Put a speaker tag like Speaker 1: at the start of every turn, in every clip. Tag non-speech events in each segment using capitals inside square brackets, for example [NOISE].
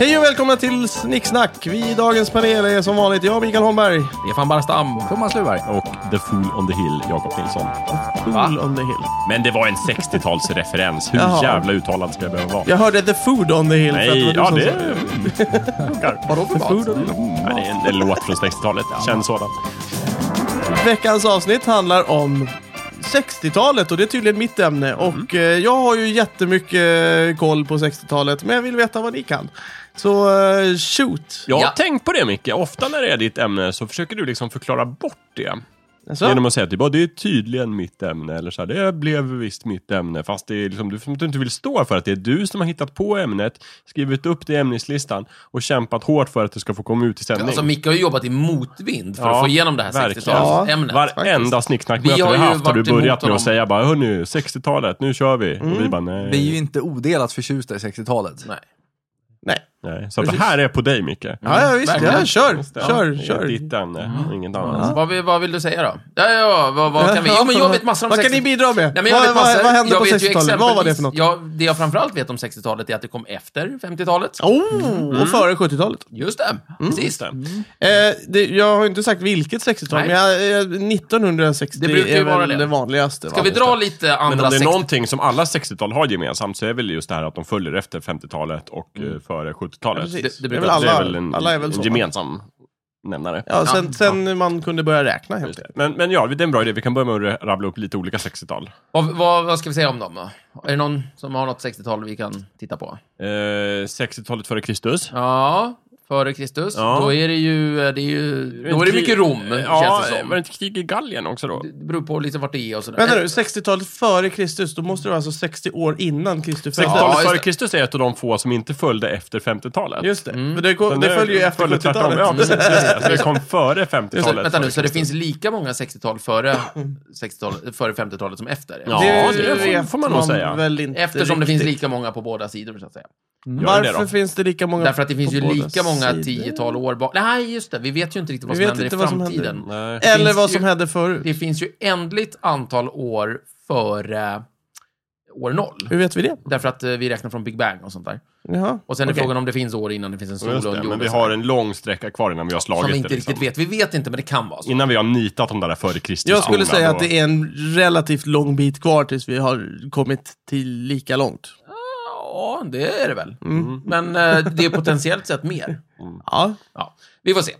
Speaker 1: Hej och välkomna till Snicksnack. Vi i dagens panel är som vanligt jag, Mikael Holmberg.
Speaker 2: Stefan Barstam.
Speaker 3: Thomas Luberg.
Speaker 4: och The Fool on the Hill, Jakob Nilsson.
Speaker 1: Fool on the hill.
Speaker 4: Men det var en 60-talsreferens. Hur
Speaker 1: Jaha.
Speaker 4: jävla uttalad ska jag behöva vara?
Speaker 1: Jag hörde The Food on the Hill. för att var
Speaker 4: Nej, ja
Speaker 1: du
Speaker 4: det
Speaker 1: som sa
Speaker 2: Vadå för
Speaker 1: Food
Speaker 2: mat?
Speaker 1: on the Hill.
Speaker 4: ja, det är en, en låt från 60-talet. Känn sådan.
Speaker 1: Veckans avsnitt handlar om 60-talet och det är tydligen mitt
Speaker 2: Mhm.
Speaker 1: ämne. Och eh, jag har ju jättemycket eh, koll på 60-talet, men jag vill veta vad ni kan. Så eh, shoot!
Speaker 4: Jag har
Speaker 2: Ja.
Speaker 4: tänkt på det mycket. Ofta när det är ditt ämne så försöker du liksom förklara bort det.
Speaker 1: Alltså,
Speaker 4: Genom att säga att typ, "Ja, det är tydligen mitt ämne. Eller så här, det blev visst mitt ämne. Fast det är liksom, du, som du inte vill stå för att det är du som har hittat på ämnet, skrivit upp det i ämneslistan och kämpat hårt för att det ska få komma ut i sändning.
Speaker 2: Alltså, Micke har ju jobbat i motvind för att
Speaker 4: Ja,
Speaker 2: få igenom det här
Speaker 4: verkligen.
Speaker 2: 60-talsämnet.
Speaker 4: Varenda snicksnackmöte
Speaker 2: Vi
Speaker 4: vi
Speaker 2: har
Speaker 4: har
Speaker 2: ju
Speaker 4: haft har du
Speaker 2: varit emot
Speaker 4: börjat med
Speaker 2: honom. Mm.
Speaker 4: att säga bara hörni, 60-talet, nu kör vi. Och vi bara nej.
Speaker 3: Vi
Speaker 2: Eh,
Speaker 3: är ju inte odelat förtjusta i 60-talet.
Speaker 2: Nej.
Speaker 1: nej.
Speaker 4: nej. Så det här är på dig Micke.
Speaker 1: Ja, ja visst.
Speaker 2: verkligen.
Speaker 1: Ja, kör,
Speaker 4: Just det.
Speaker 1: kör,
Speaker 4: Det är
Speaker 1: kör.
Speaker 4: Ditt ämne,
Speaker 2: Mm.
Speaker 4: inget annat.
Speaker 2: Vad, vill, vad vill du säga då? Ja, ja, vad, vad kan vi? Jo, men jag vet massor om
Speaker 1: Vad kan
Speaker 2: 60
Speaker 1: ni bidra med?
Speaker 2: Nej, men jag
Speaker 1: vad,
Speaker 2: vet
Speaker 1: vad-
Speaker 2: massor.
Speaker 1: vad hände
Speaker 2: jag
Speaker 1: på
Speaker 2: vet ju
Speaker 1: 60-talet? Vad var det för
Speaker 2: exempelvis-
Speaker 1: något?
Speaker 2: Ja, det jag framförallt vet om 60-talet är att det kom efter 50-talet.
Speaker 1: Oh, och
Speaker 2: Mm.
Speaker 1: före 70-talet.
Speaker 2: Just det,
Speaker 1: Mm.
Speaker 2: precis. Det,
Speaker 1: Eh, det, jag har inte sagt vilket 60-tal,
Speaker 2: Nej.
Speaker 1: men jag, eh, 1960
Speaker 2: Det brukar ju
Speaker 1: är
Speaker 2: vara
Speaker 1: väl
Speaker 2: det.
Speaker 1: det, vanligaste.
Speaker 2: Ska
Speaker 1: va?
Speaker 2: vi dra lite
Speaker 4: Men
Speaker 2: andra
Speaker 4: om det
Speaker 2: 60
Speaker 4: är någonting som alla 60-tal har gemensamt så är väl just det här att de följer efter 50-talet och eh, före 70-talet.
Speaker 1: precis.
Speaker 2: Mm. Det- det
Speaker 1: Det är
Speaker 2: brukar-
Speaker 1: väl alla,
Speaker 4: det är väl en,
Speaker 1: alla är väl
Speaker 4: en
Speaker 1: så.
Speaker 4: gemensam nämnare.
Speaker 1: Ja, sen,
Speaker 2: Ja.
Speaker 1: sen man kunde börja räkna helt
Speaker 4: Just det.
Speaker 1: enkelt.
Speaker 4: Men, men ja, det är en bra idé. Vi kan börja med att rabbla upp lite olika 60-tal.
Speaker 2: Vad, vad, vad ska vi säga om dem då? Är det någon som har något 60-tal vi kan titta på?
Speaker 4: Eh, 60-talet före Kristus.
Speaker 2: Ja, före Kristus.
Speaker 4: Ja.
Speaker 2: Då är det ju... Det är ju då är det mycket Rom,
Speaker 4: Eh, ja,
Speaker 2: känns det som.
Speaker 4: Var det inte krig i Gallien också då?
Speaker 2: Det beror på lite vart det är och sådär.
Speaker 1: Vänta nu, 60-talet före Kristus, då måste det vara alltså 60 år innan Kristus
Speaker 2: Ja,
Speaker 4: 60-talet
Speaker 2: just
Speaker 4: före
Speaker 2: det.
Speaker 4: Kristus är ett av de få som inte följde efter 50-talet.
Speaker 1: Just det,
Speaker 2: Mm.
Speaker 1: för det, går-
Speaker 4: Men
Speaker 1: det följer ju efter
Speaker 4: följde tvärtom.
Speaker 1: 70-talet.
Speaker 4: Ja, precis. just det. Det kom före 50-talet.
Speaker 2: Vänta nu, så det finns lika många
Speaker 1: [CLEARS THROAT]
Speaker 2: 60-tal före,
Speaker 1: Mm.
Speaker 2: 60-tal, före 50-talet som efter?
Speaker 4: Ja, det får-
Speaker 1: vet
Speaker 4: får man nog säga.
Speaker 1: Väl inte
Speaker 2: Eftersom det
Speaker 1: riktigt.
Speaker 2: finns lika många på båda sidor, så att säga.
Speaker 4: Gör det
Speaker 1: Varför
Speaker 4: då.
Speaker 1: finns det lika många?
Speaker 2: Därför att det finns
Speaker 1: på
Speaker 2: ju
Speaker 1: båda
Speaker 2: lika många
Speaker 1: sidor?
Speaker 2: tiotal år bak. Nej, just det. Vi vet ju inte riktigt vad
Speaker 1: Vi
Speaker 2: som
Speaker 1: vet
Speaker 2: händer i
Speaker 1: inte vad som händer.
Speaker 2: framtiden.
Speaker 4: Nej.
Speaker 1: Eller
Speaker 2: finns
Speaker 1: vad
Speaker 2: ju-
Speaker 1: som hände förut.
Speaker 2: Det finns ju ändligt antal år före år noll.
Speaker 1: Hur vet vi det?
Speaker 2: Därför att eh, vi räknar från Big Bang och sånt där.
Speaker 1: Jaha.
Speaker 2: Och sen är
Speaker 1: Okej.
Speaker 2: frågan om det finns år innan det finns en sol
Speaker 4: Just
Speaker 2: och en
Speaker 4: det,
Speaker 2: jord.
Speaker 4: men vi
Speaker 2: och sådär.
Speaker 4: har en lång sträcka kvar innan vi har slagit
Speaker 2: Som vi inte
Speaker 4: det.
Speaker 2: riktigt
Speaker 4: Liksom.
Speaker 2: vet. Vi vet inte, men det kan vara så.
Speaker 4: Innan vi har nitat de där före Kristus.
Speaker 1: Jag skulle säga att det är en relativt lång bit kvar tills vi har kommit till lika långt.
Speaker 2: Ja, det är det väl.
Speaker 1: Mm.
Speaker 2: Men eh, det är potentiellt sett mer.
Speaker 1: Ja,
Speaker 2: Ja, vi får se.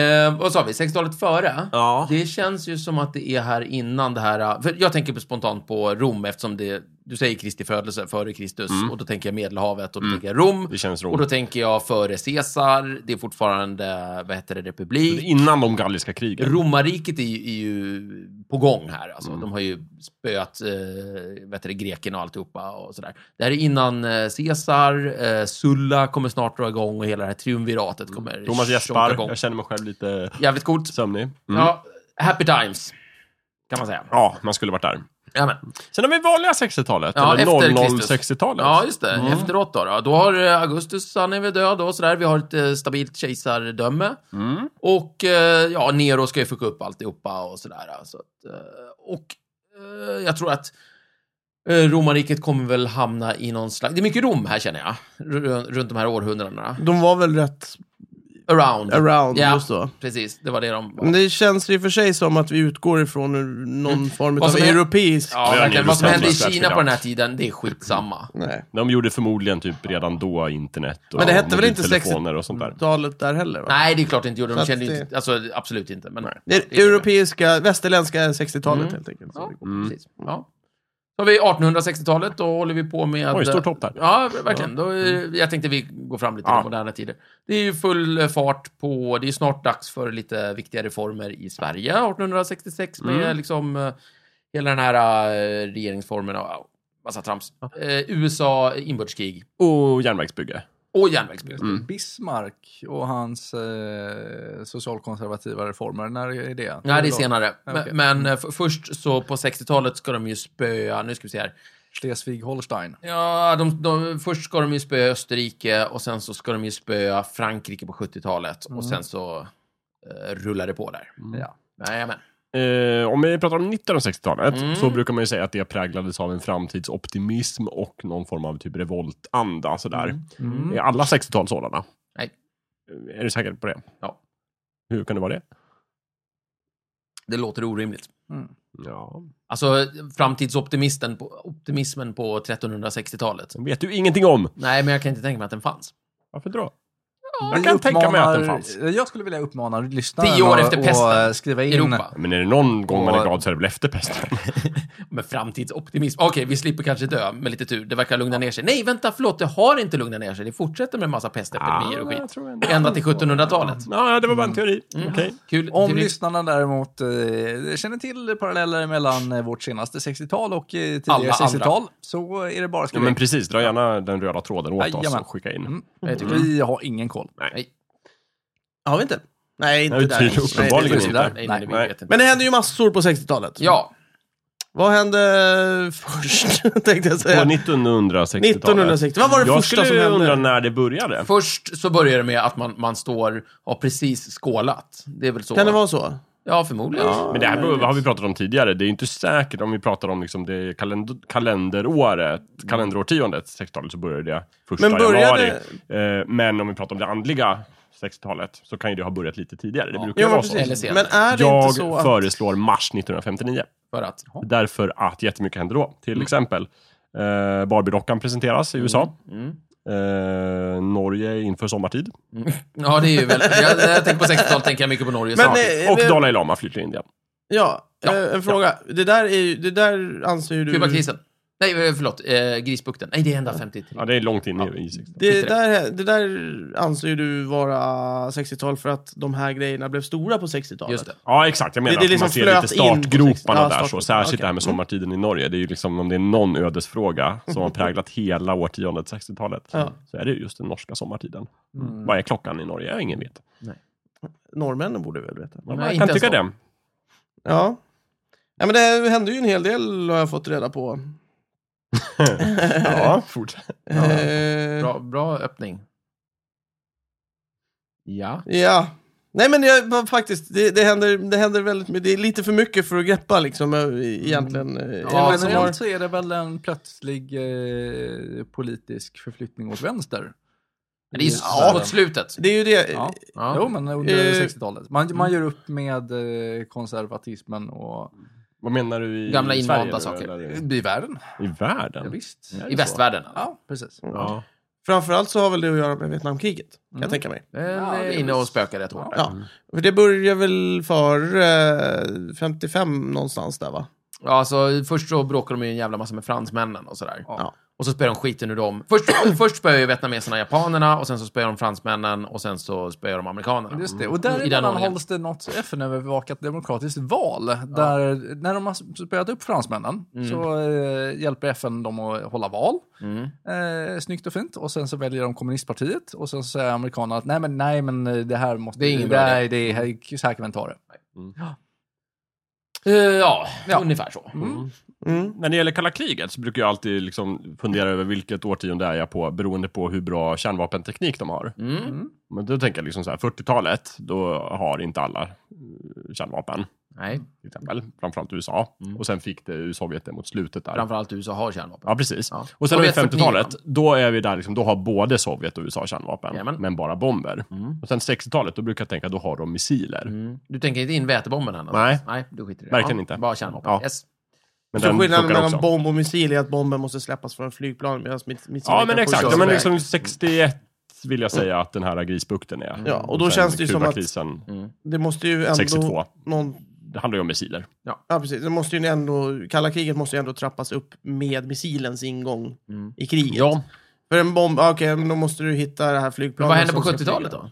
Speaker 2: Eh, vad sa vi? 60-talet före?
Speaker 4: Ja.
Speaker 2: Det känns ju som att det är här innan det här... eh, För jag tänker på spontant på Rom eftersom det... Du säger Kristi födelse, före Kristus. Och då tänker jag Medelhavet och då tänker jag Rom.
Speaker 4: Mm. Det känns Rom.
Speaker 2: Och då tänker jag före Caesar. Det är fortfarande, vad heter det, republik.
Speaker 4: Innan de galliska krigen.
Speaker 2: Romarriket är ju, är ju på gång här. Alltså.
Speaker 4: Mm.
Speaker 2: De har ju spöat eh, vet du, grekerna och alltihopa och sådär. Det här är innan eh, Caesar, eh, Sulla kommer snart dra igång och hela det här triumviratet kommer
Speaker 4: Thomas
Speaker 2: tjonka
Speaker 4: Jespar.
Speaker 2: igång.
Speaker 4: Jag känner mig själv lite
Speaker 2: Jävligt coolt.
Speaker 4: sömnig. Mm.
Speaker 2: Ja, happy times, kan man säga.
Speaker 4: Ja, man skulle varit där.
Speaker 2: Jajamän.
Speaker 4: Sen har vi vanliga 60-talet.
Speaker 2: Ja,
Speaker 4: eller
Speaker 2: efter
Speaker 4: 00-60-talet.
Speaker 2: Ja, just det.
Speaker 4: Mm.
Speaker 2: Efteråt då, då. Då har eh, Augustus, han är väl död och sådär. Vi har ett eh, stabilt kejsardöme.
Speaker 4: Mm.
Speaker 2: Och eh, ja, Nero ska ju fucka upp alltihopa och sådär. Så att, eh, och eh, jag tror att eh, romarriket kommer väl hamna i någon slags... Det är mycket Rom här känner jag. Ru- Runt de här århundradena.
Speaker 1: de var väl rätt
Speaker 2: Around.
Speaker 1: around Mm.
Speaker 2: Ja.
Speaker 1: just då.
Speaker 2: Precis, det var det de var.
Speaker 1: Men det känns ju i och för sig som att vi utgår ifrån någon form
Speaker 2: Vad
Speaker 1: av
Speaker 2: Mm. som är-
Speaker 1: europeisk...
Speaker 2: Ja,
Speaker 4: Ja,
Speaker 2: verkligen.
Speaker 4: Nero
Speaker 2: Vad som
Speaker 4: Sandberg,
Speaker 2: hände i
Speaker 4: världsfinans.
Speaker 2: Kina på den här tiden, det är skitsamma.
Speaker 1: Nej.
Speaker 4: De gjorde förmodligen typ redan då internet och
Speaker 1: Men det hette väl inte Mm.
Speaker 4: mobiltelefoner och sånt där.
Speaker 1: 60-talet där heller? Va?
Speaker 2: Nej, det är klart det inte gjorde.
Speaker 1: Så
Speaker 2: De
Speaker 1: att
Speaker 2: kände ju
Speaker 1: det-
Speaker 2: inte, alltså absolut inte. Men
Speaker 1: Det är europeiska, västerländska 60-talet
Speaker 2: Mm.
Speaker 1: helt enkelt.
Speaker 2: Ja, precis. Ja. Då har vi 1860-talet, då håller vi på med...
Speaker 4: Oj, stort hopp där.
Speaker 2: Ja, verkligen. Då, är- jag tänkte vi går fram lite i
Speaker 4: Ja.
Speaker 2: moderna tider. Det är ju full eh, fart på... Det är snart dags för lite viktiga reformer i Sverige. 1866 med liksom eh, hela den här eh, regeringsformen och ja, massa trams. Eh, USA, inbördeskrig
Speaker 4: Och järnvägsbygge.
Speaker 2: och järnvägsbyggnad.
Speaker 3: Mm. Bismarck och hans eh, socialkonservativa reformer, när är det?
Speaker 2: Nej, det är senare.
Speaker 3: Ja,
Speaker 2: Men,
Speaker 3: okej.
Speaker 2: men eh, f- först så på 60-talet ska de ju spöa, nu ska vi se här.
Speaker 3: Schleswig-Holstein.
Speaker 2: Ja, de, de, först ska de ju spöa Österrike och sen så ska de ju spöa
Speaker 4: Mm.
Speaker 2: Frankrike på 70-talet och sen så eh, rullar det på där.
Speaker 3: Ja.
Speaker 2: Jajamän.
Speaker 4: Eh, om vi pratar om 1960-talet
Speaker 2: Mm.
Speaker 4: så brukar man ju säga att det präglades av en framtidsoptimism och någon form av typ revoltanda sådär.
Speaker 3: Mm.
Speaker 4: Är alla 60-tal sådana?
Speaker 2: Mm. Nej.
Speaker 4: Eh, Är du säker på det?
Speaker 2: Ja.
Speaker 4: Hur kan det vara det?
Speaker 2: Det låter orimligt.
Speaker 4: Ja.
Speaker 2: Alltså framtidsoptimisten på, optimismen på 1360-talet.
Speaker 4: Den vet du ingenting om.
Speaker 2: Nej, men jag kan inte tänka mig att den fanns.
Speaker 4: Varför då? jag kan tänka mig att den fanns.
Speaker 3: Jag skulle vilja uppmana lyssnaren
Speaker 2: Tio år efter
Speaker 3: och,
Speaker 2: pesten.
Speaker 3: och eh, skriva in...
Speaker 2: Europa.
Speaker 4: Men är det någon gång man är
Speaker 3: Och-
Speaker 4: glad så är det väl efter
Speaker 2: [LAUGHS]
Speaker 4: pesten?
Speaker 2: Men framtidsoptimism. Okej, vi slipper kanske dö med lite tur. Det verkar lugna ner sig. Nej, vänta, förlåt. Det har inte lugnat ner sig. Det fortsätter med en massa pestepidemier och
Speaker 4: Ah,
Speaker 2: skit.
Speaker 4: jag tror ändå-
Speaker 2: Ända till Mm. 1700-talet.
Speaker 4: Ja, det var bara en teori. Okej.
Speaker 2: Kul.
Speaker 3: Om
Speaker 2: teori.
Speaker 3: lyssnarna däremot eh, känner till paralleller mellan eh, vårt senaste 60-tal och eh,
Speaker 2: Alla
Speaker 3: tidigare 60-tal så är det bara att
Speaker 4: Ja,
Speaker 3: skriva
Speaker 4: men
Speaker 3: in.
Speaker 4: precis, dra gärna den röda tråden åt oss
Speaker 3: Jajamän.
Speaker 4: och skicka in.
Speaker 3: Mm.
Speaker 2: Jag tycker-
Speaker 3: Vi har ingen koll.
Speaker 1: Har vi inte? Nej, inte
Speaker 4: Nej,
Speaker 1: där.
Speaker 4: tydligen
Speaker 1: Nej, det är
Speaker 4: uppenbarligen
Speaker 1: inte
Speaker 4: inte.
Speaker 1: där.
Speaker 2: Nej, nej, vi
Speaker 4: Nej.
Speaker 2: vet inte.
Speaker 1: Men det hände ju massor på 60-talet.
Speaker 2: Ja,
Speaker 1: Vad hände först, [LAUGHS] tänkte jag
Speaker 4: På
Speaker 1: säga.
Speaker 4: 1960-talet.
Speaker 1: 1960. Eh, Vad var det
Speaker 4: jag
Speaker 1: första som
Speaker 4: skulle
Speaker 1: hände?
Speaker 4: undra när det började.
Speaker 2: först så börjar det med att man, man står, har precis skålat. Det är väl så?
Speaker 1: Kan det vara så?
Speaker 2: Ja, förmodligen.
Speaker 1: Ja.
Speaker 4: Men det här har vi pratat om tidigare. Det är inte säkert om vi pratar om liksom det kalend kalenderåret, kalenderårtiondet, 60-talet, så började det första
Speaker 1: Men började-
Speaker 4: januari. Eh, Men om vi pratar om det andliga 60-talet så kan ju det ha börjat lite tidigare. Det brukar ju
Speaker 1: Ja, men
Speaker 4: vara så.
Speaker 2: Eller
Speaker 1: precis.
Speaker 2: senare.
Speaker 1: Men är det
Speaker 4: Jag
Speaker 1: inte så att...
Speaker 4: föreslår mars 1959.
Speaker 2: För att.
Speaker 4: Därför att jättemycket händer då. Till
Speaker 1: Mm.
Speaker 4: exempel eh, Barbie-dockan presenteras i USA.
Speaker 2: Mm.
Speaker 4: Eh, Norge inför sommartid.
Speaker 2: Ja, det är ju väl... Jag, när jag tänker på 60-talet tänker jag mycket på Norge.
Speaker 1: Men,
Speaker 2: Men,
Speaker 1: eh,
Speaker 4: Och
Speaker 1: det-
Speaker 4: Dalai Lama flyr till Indien.
Speaker 1: Ja, eh, en fråga. Det där är ju, det där anser ju du...
Speaker 2: Kubakrisen. Nej, eh, förlåt. Eh, Grisbukten. Nej, det är ända 53.
Speaker 4: Ja, det är långt in i- i 60
Speaker 1: Det
Speaker 2: Skit i det.
Speaker 1: där, det där anser ju du vara 60-tal för att de här grejerna blev stora på 60-talet.
Speaker 2: Just det.
Speaker 4: Ja, exakt. Jag menar
Speaker 1: Det- det
Speaker 4: att
Speaker 1: liksom
Speaker 4: man ser
Speaker 1: flöt
Speaker 4: lite
Speaker 1: in på sextio-
Speaker 4: startgroparna
Speaker 1: ja,
Speaker 4: där så.
Speaker 1: startgroparna.
Speaker 4: Särskilt
Speaker 1: Okej.
Speaker 4: det här med sommartiden i Norge. Det är ju liksom, om det är någon ödesfråga som har präglat hela årtiondet, 60-talet,
Speaker 1: Mm. Ja. Mm.
Speaker 4: så är det ju just den norska sommartiden. Vad är klockan i Norge? Ja, Ingen vet.
Speaker 1: Norrmännen borde väl veta.
Speaker 4: Man
Speaker 2: Nej,
Speaker 4: kan
Speaker 2: inte ens
Speaker 4: tycka
Speaker 2: de.
Speaker 4: det.
Speaker 1: Ja. ja, men det hände ju en hel del har jag fått reda på. [LAUGHS]
Speaker 4: Ja, fort.
Speaker 1: Eh,
Speaker 2: Bra, bra öppning. Ja.
Speaker 1: Ja. Nej men jag, va- faktiskt, det, det, händer, det händer väldigt mycket. Det är lite för mycket för att greppa liksom eh, egentligen. eh, är det
Speaker 3: Ja,
Speaker 1: någon som har-
Speaker 3: generellt så är det väl en plötslig eh, politisk förförflyttning åt vänster.
Speaker 2: Men det är ju
Speaker 3: Ja.
Speaker 2: mot slutet.
Speaker 1: det är ju det.
Speaker 3: Ja.
Speaker 2: Ja.
Speaker 3: Jo, men under
Speaker 1: Eh,
Speaker 3: 60-talet. Man, man gör upp med eh, konservatismen och...
Speaker 4: Vad menar du i
Speaker 2: Gamla
Speaker 4: Sverige
Speaker 2: invanda
Speaker 4: nu,
Speaker 2: saker.
Speaker 4: eller?
Speaker 3: I världen?
Speaker 4: I
Speaker 3: Ja,
Speaker 4: världen?
Speaker 3: visst.
Speaker 2: I västvärlden. alltså.
Speaker 3: Ja, precis.
Speaker 4: Ja.
Speaker 1: Framförallt så har väl det att göra med Vietnamkriget, kan jag
Speaker 3: Mm.
Speaker 1: tänka mig.
Speaker 2: Den
Speaker 3: Ja,
Speaker 2: är
Speaker 3: det är
Speaker 2: inne
Speaker 3: väl-
Speaker 2: och spökar rätt hårt. Ja.
Speaker 1: Ja.
Speaker 4: Mm.
Speaker 1: För det börjar väl för eh, 55 någonstans där va?
Speaker 2: Ja, alltså, först så bråkar de ju en jävla massa med fransmännen och sådär.
Speaker 1: Ja.
Speaker 2: Och så spöar de skiten ur dem. Först, [COUGHS] först spöar ju vietnameserna japanerna och sen så spöar de fransmännen och sen så spöar de amerikanerna.
Speaker 3: Just det. Och
Speaker 2: Mm. I den
Speaker 3: däremellan
Speaker 2: ordningen.
Speaker 3: hålls det något FN-övervakat demokratiskt val. Där, när de har spöat upp fransmännen så eh, hjälper FN dem att hålla val.
Speaker 2: Mm.
Speaker 3: Eh, snyggt och fint. Och sen så väljer de kommunistpartiet. Och sen så säger amerikanerna att nej men, nej, men eh, det här måste...
Speaker 2: Det är ingen bra
Speaker 3: nej, det är, här- så här kan vi inte ha det.
Speaker 2: Eh, ja,
Speaker 3: Ja.
Speaker 2: ungefär så.
Speaker 1: Mm.
Speaker 4: När det gäller kalla kriget så brukar jag alltid liksom fundera över vilket årtionde är jag på beroende på hur bra kärnvapenteknik de har.
Speaker 2: Mm.
Speaker 4: Men då tänker jag liksom så här, 40-talet, då har inte alla eh, kärnvapen.
Speaker 2: Nej,
Speaker 4: till exempel. Framförallt USA.
Speaker 2: Mm.
Speaker 4: Och sen fick det ju Sovjet det mot slutet där.
Speaker 2: framförallt USA har kärnvapen.
Speaker 4: Ja, precis.
Speaker 2: Ja.
Speaker 4: Och sen har vi
Speaker 2: Sovjet 49,
Speaker 4: 50-talet. Då är vi där, liksom, då har både Sovjet och USA kärnvapen.
Speaker 2: Jajamän.
Speaker 4: Men bara bomber. Och sen 60-talet, då brukar jag tänka, då har de missiler.
Speaker 2: Mm. Du tänker inte in vätebomben här
Speaker 4: Nej.
Speaker 2: någonstans? Nej, du skiter i det.
Speaker 4: Verkligen inte.
Speaker 2: Bara kärnvapen.
Speaker 4: Ja.
Speaker 2: Yes.
Speaker 4: Men
Speaker 1: Så
Speaker 4: den
Speaker 1: Alltså, skillnaden
Speaker 4: funkar
Speaker 1: mellan
Speaker 4: också.
Speaker 1: bomb och missil är att bomben måste släppas från flygplan medan mitt, mitt
Speaker 4: Ja, men exakt. Ja, men
Speaker 2: iväg.
Speaker 4: liksom 61 vill jag säga att den här grisbukten är.
Speaker 1: Ja, och då
Speaker 4: sen
Speaker 1: känns det ju som att-
Speaker 4: Kubakrisen,
Speaker 1: Det måste ju ändå...
Speaker 4: 62.
Speaker 1: Någon,
Speaker 4: Det handlar ju om missiler.
Speaker 1: ja, precis. Det måste ju ändå, kalla kriget måste ju ändå trappas upp med missilens ingång
Speaker 4: Mm.
Speaker 1: i kriget.
Speaker 4: Ja.
Speaker 1: För en bomb, ja, okej, men då måste du hitta det här
Speaker 2: Men
Speaker 1: flygplanet.
Speaker 2: vad hände på
Speaker 1: som ska
Speaker 2: 70-talet
Speaker 1: flyga.
Speaker 2: då?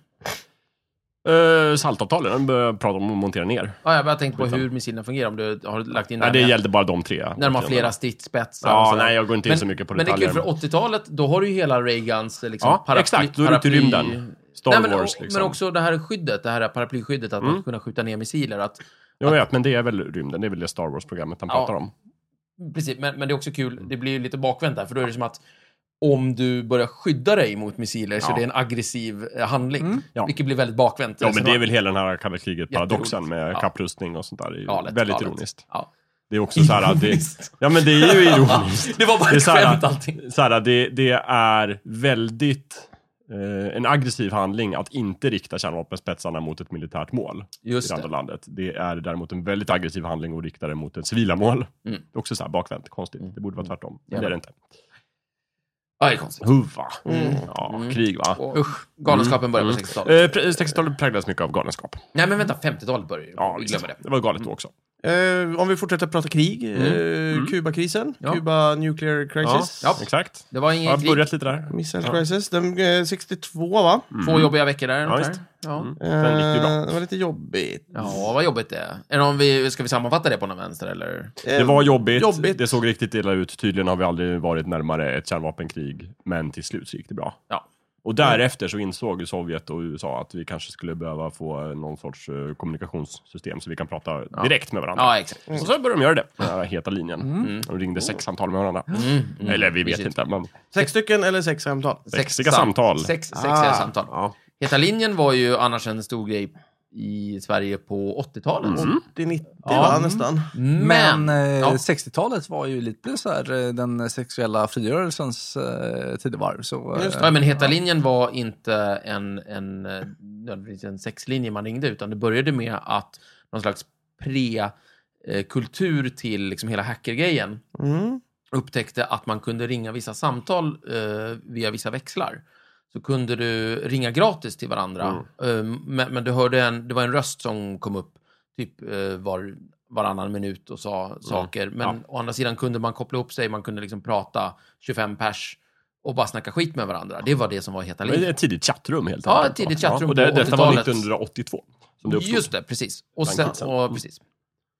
Speaker 4: Uh, saltavtalen, den börjar prata om att montera ner.
Speaker 2: Ja, jag bara tänkte på hur missilerna fungerar, om du har lagt in
Speaker 4: Nej,
Speaker 2: den
Speaker 4: det
Speaker 2: här.
Speaker 4: gällde bara de tre.
Speaker 2: När de har flera stridsspetsar. och
Speaker 4: Ja,
Speaker 2: sådär.
Speaker 4: nej, jag går inte in
Speaker 2: men,
Speaker 4: så mycket på
Speaker 2: Men det är
Speaker 4: detaljer.
Speaker 2: kul, för 80-talet, då har du ju hela Reagans liksom,
Speaker 4: Ja,
Speaker 2: paraply.
Speaker 4: exakt. Då är du ute i
Speaker 2: paraply-
Speaker 4: rymden. Star
Speaker 2: nej, men,
Speaker 4: Wars
Speaker 2: och-
Speaker 4: liksom. Mm.
Speaker 2: Men också det här skyddet, det här paraplyskyddet, att man ska kunna skjuta ner missiler. Att,
Speaker 4: Jag vet, men det är väl rymden. Det är väl det Star Wars-programmet han
Speaker 2: Ja.
Speaker 4: pratar om.
Speaker 2: precis, men, men det är också kul, det blir ju lite bakvänt där, för då är det som att om du börjar skydda dig mot missiler så
Speaker 4: Ja.
Speaker 2: det är en aggressiv eh, handling.
Speaker 4: Ja.
Speaker 2: Vilket blir väldigt bakvänt.
Speaker 4: Ja, men det är
Speaker 2: resonemang.
Speaker 4: väl hela den här kalla kriget-paradoxen med
Speaker 2: Ja.
Speaker 4: kapprustning och sånt där. Det är ju
Speaker 2: Galet,
Speaker 4: väldigt
Speaker 2: galet.
Speaker 4: ironiskt.
Speaker 2: Ja.
Speaker 4: Det är också så här att det,
Speaker 2: Ironiskt.
Speaker 4: Ja, men det är ju ironiskt.
Speaker 2: Det var bara
Speaker 4: Det är
Speaker 2: ett
Speaker 4: så här-
Speaker 2: skämt allting.
Speaker 4: Så här, det, det är väldigt eh, en aggressiv handling att inte rikta kärnvapenspetsarna mot ett militärt mål i
Speaker 2: Just
Speaker 4: det andra
Speaker 2: det.
Speaker 4: landet. Det är däremot en väldigt aggressiv handling att rikta det mot ett civila mål.
Speaker 2: Mm.
Speaker 4: Det är Också så här bakvänt, konstigt. Det borde vara tvärtom. Men det är det inte.
Speaker 2: Ja, det är konstigt.
Speaker 4: Huva.
Speaker 1: Mm.
Speaker 4: Ja,
Speaker 2: Mm.
Speaker 4: krig va?
Speaker 2: Och, usch, galenskapen började på
Speaker 4: Mm.
Speaker 2: 60-talet.
Speaker 4: Eh, pre- 60-talet präglades mycket av galenskap.
Speaker 2: Nej, men vänta, 50-talet började ju.
Speaker 4: Ja,
Speaker 2: Vi
Speaker 4: visst.
Speaker 2: glömmer det.
Speaker 4: det var galet då också.
Speaker 1: Eh, om vi fortsätter prata krig. Eh, Kubakrisen.
Speaker 2: Mm. Ja.
Speaker 1: Cuba Nuclear Crisis.
Speaker 2: Ja.
Speaker 4: Exakt.
Speaker 2: Det var
Speaker 4: Jag
Speaker 2: ingen
Speaker 4: har
Speaker 2: krig.
Speaker 4: börjat lite där.
Speaker 1: Missile Crisis. Den eh, 62, va?
Speaker 2: Två jobbiga veckor där. ungefär.
Speaker 4: Mhm. visst.
Speaker 2: ja.
Speaker 4: Mm. Sen gick det ju bra.
Speaker 1: Eh, det var lite jobbigt.
Speaker 2: ja, vad jobbigt det är. är. det om vi, ska vi sammanfatta det på någon vänster, eller?
Speaker 4: Det
Speaker 1: Eh,
Speaker 4: var jobbigt.
Speaker 1: jobbigt.
Speaker 4: det såg riktigt illa ut. Tydligen har vi aldrig varit närmare ett kärnvapenkrig, men till slut så gick det bra.
Speaker 2: Ja.
Speaker 4: Och därefter så insåg ju Sovjet och USA att vi kanske skulle behöva få eh, någon sorts eh, kommunikationssystem så vi kan prata direkt med varandra.
Speaker 2: Ja, Mm. exakt.
Speaker 4: Och så började de göra det, den här heta linjen. Mm. De ringde sex samtal med varandra. Eller vi vet
Speaker 2: Mm. Precis.
Speaker 4: inte, men
Speaker 1: Sex stycken eller sex samtal?
Speaker 4: Sexiga samtal.
Speaker 2: Sex, sexiga
Speaker 1: Ah,
Speaker 2: samtal. Heta linjen var ju annars en stor grej i Sverige på 80-talet.
Speaker 4: Mm.
Speaker 1: Det är 90,
Speaker 2: Ja.
Speaker 1: va? Nästan.
Speaker 2: Men,
Speaker 3: Men, eh,
Speaker 2: ja,
Speaker 3: 60-talet var ju lite så här eh, den sexuella frigörelsens eh, tidevarv. Så, eh,
Speaker 2: ja, men heta linjen var inte en, en, eh, nödvändigtvis en sexlinje man ringde, utan det började med att någon slags pre-kultur till liksom hela hackergrejen
Speaker 1: Mm.
Speaker 2: upptäckte att man kunde ringa vissa samtal eh, via vissa växlar. Så kunde du ringa gratis till varandra.
Speaker 4: Mm.
Speaker 2: Eh, men, men du hörde en, det var en röst som kom upp typ eh, var, varannan minut och sa
Speaker 4: Mm.
Speaker 2: saker. Men å andra sidan kunde man koppla upp sig, man kunde liksom prata 25 pers och bara snacka skit med varandra. Det var det som var heta
Speaker 4: det är
Speaker 2: linjen.
Speaker 4: ett tidigt chattrum helt
Speaker 2: Ja,
Speaker 4: enkelt.
Speaker 2: ett tidigt chattrum
Speaker 4: och det,
Speaker 2: på
Speaker 4: Detta var
Speaker 2: 80-talet.
Speaker 4: 1982 som det uppstod.
Speaker 2: Just det, precis. Och
Speaker 4: Bland
Speaker 2: sen,
Speaker 4: kidsen.
Speaker 2: och, precis.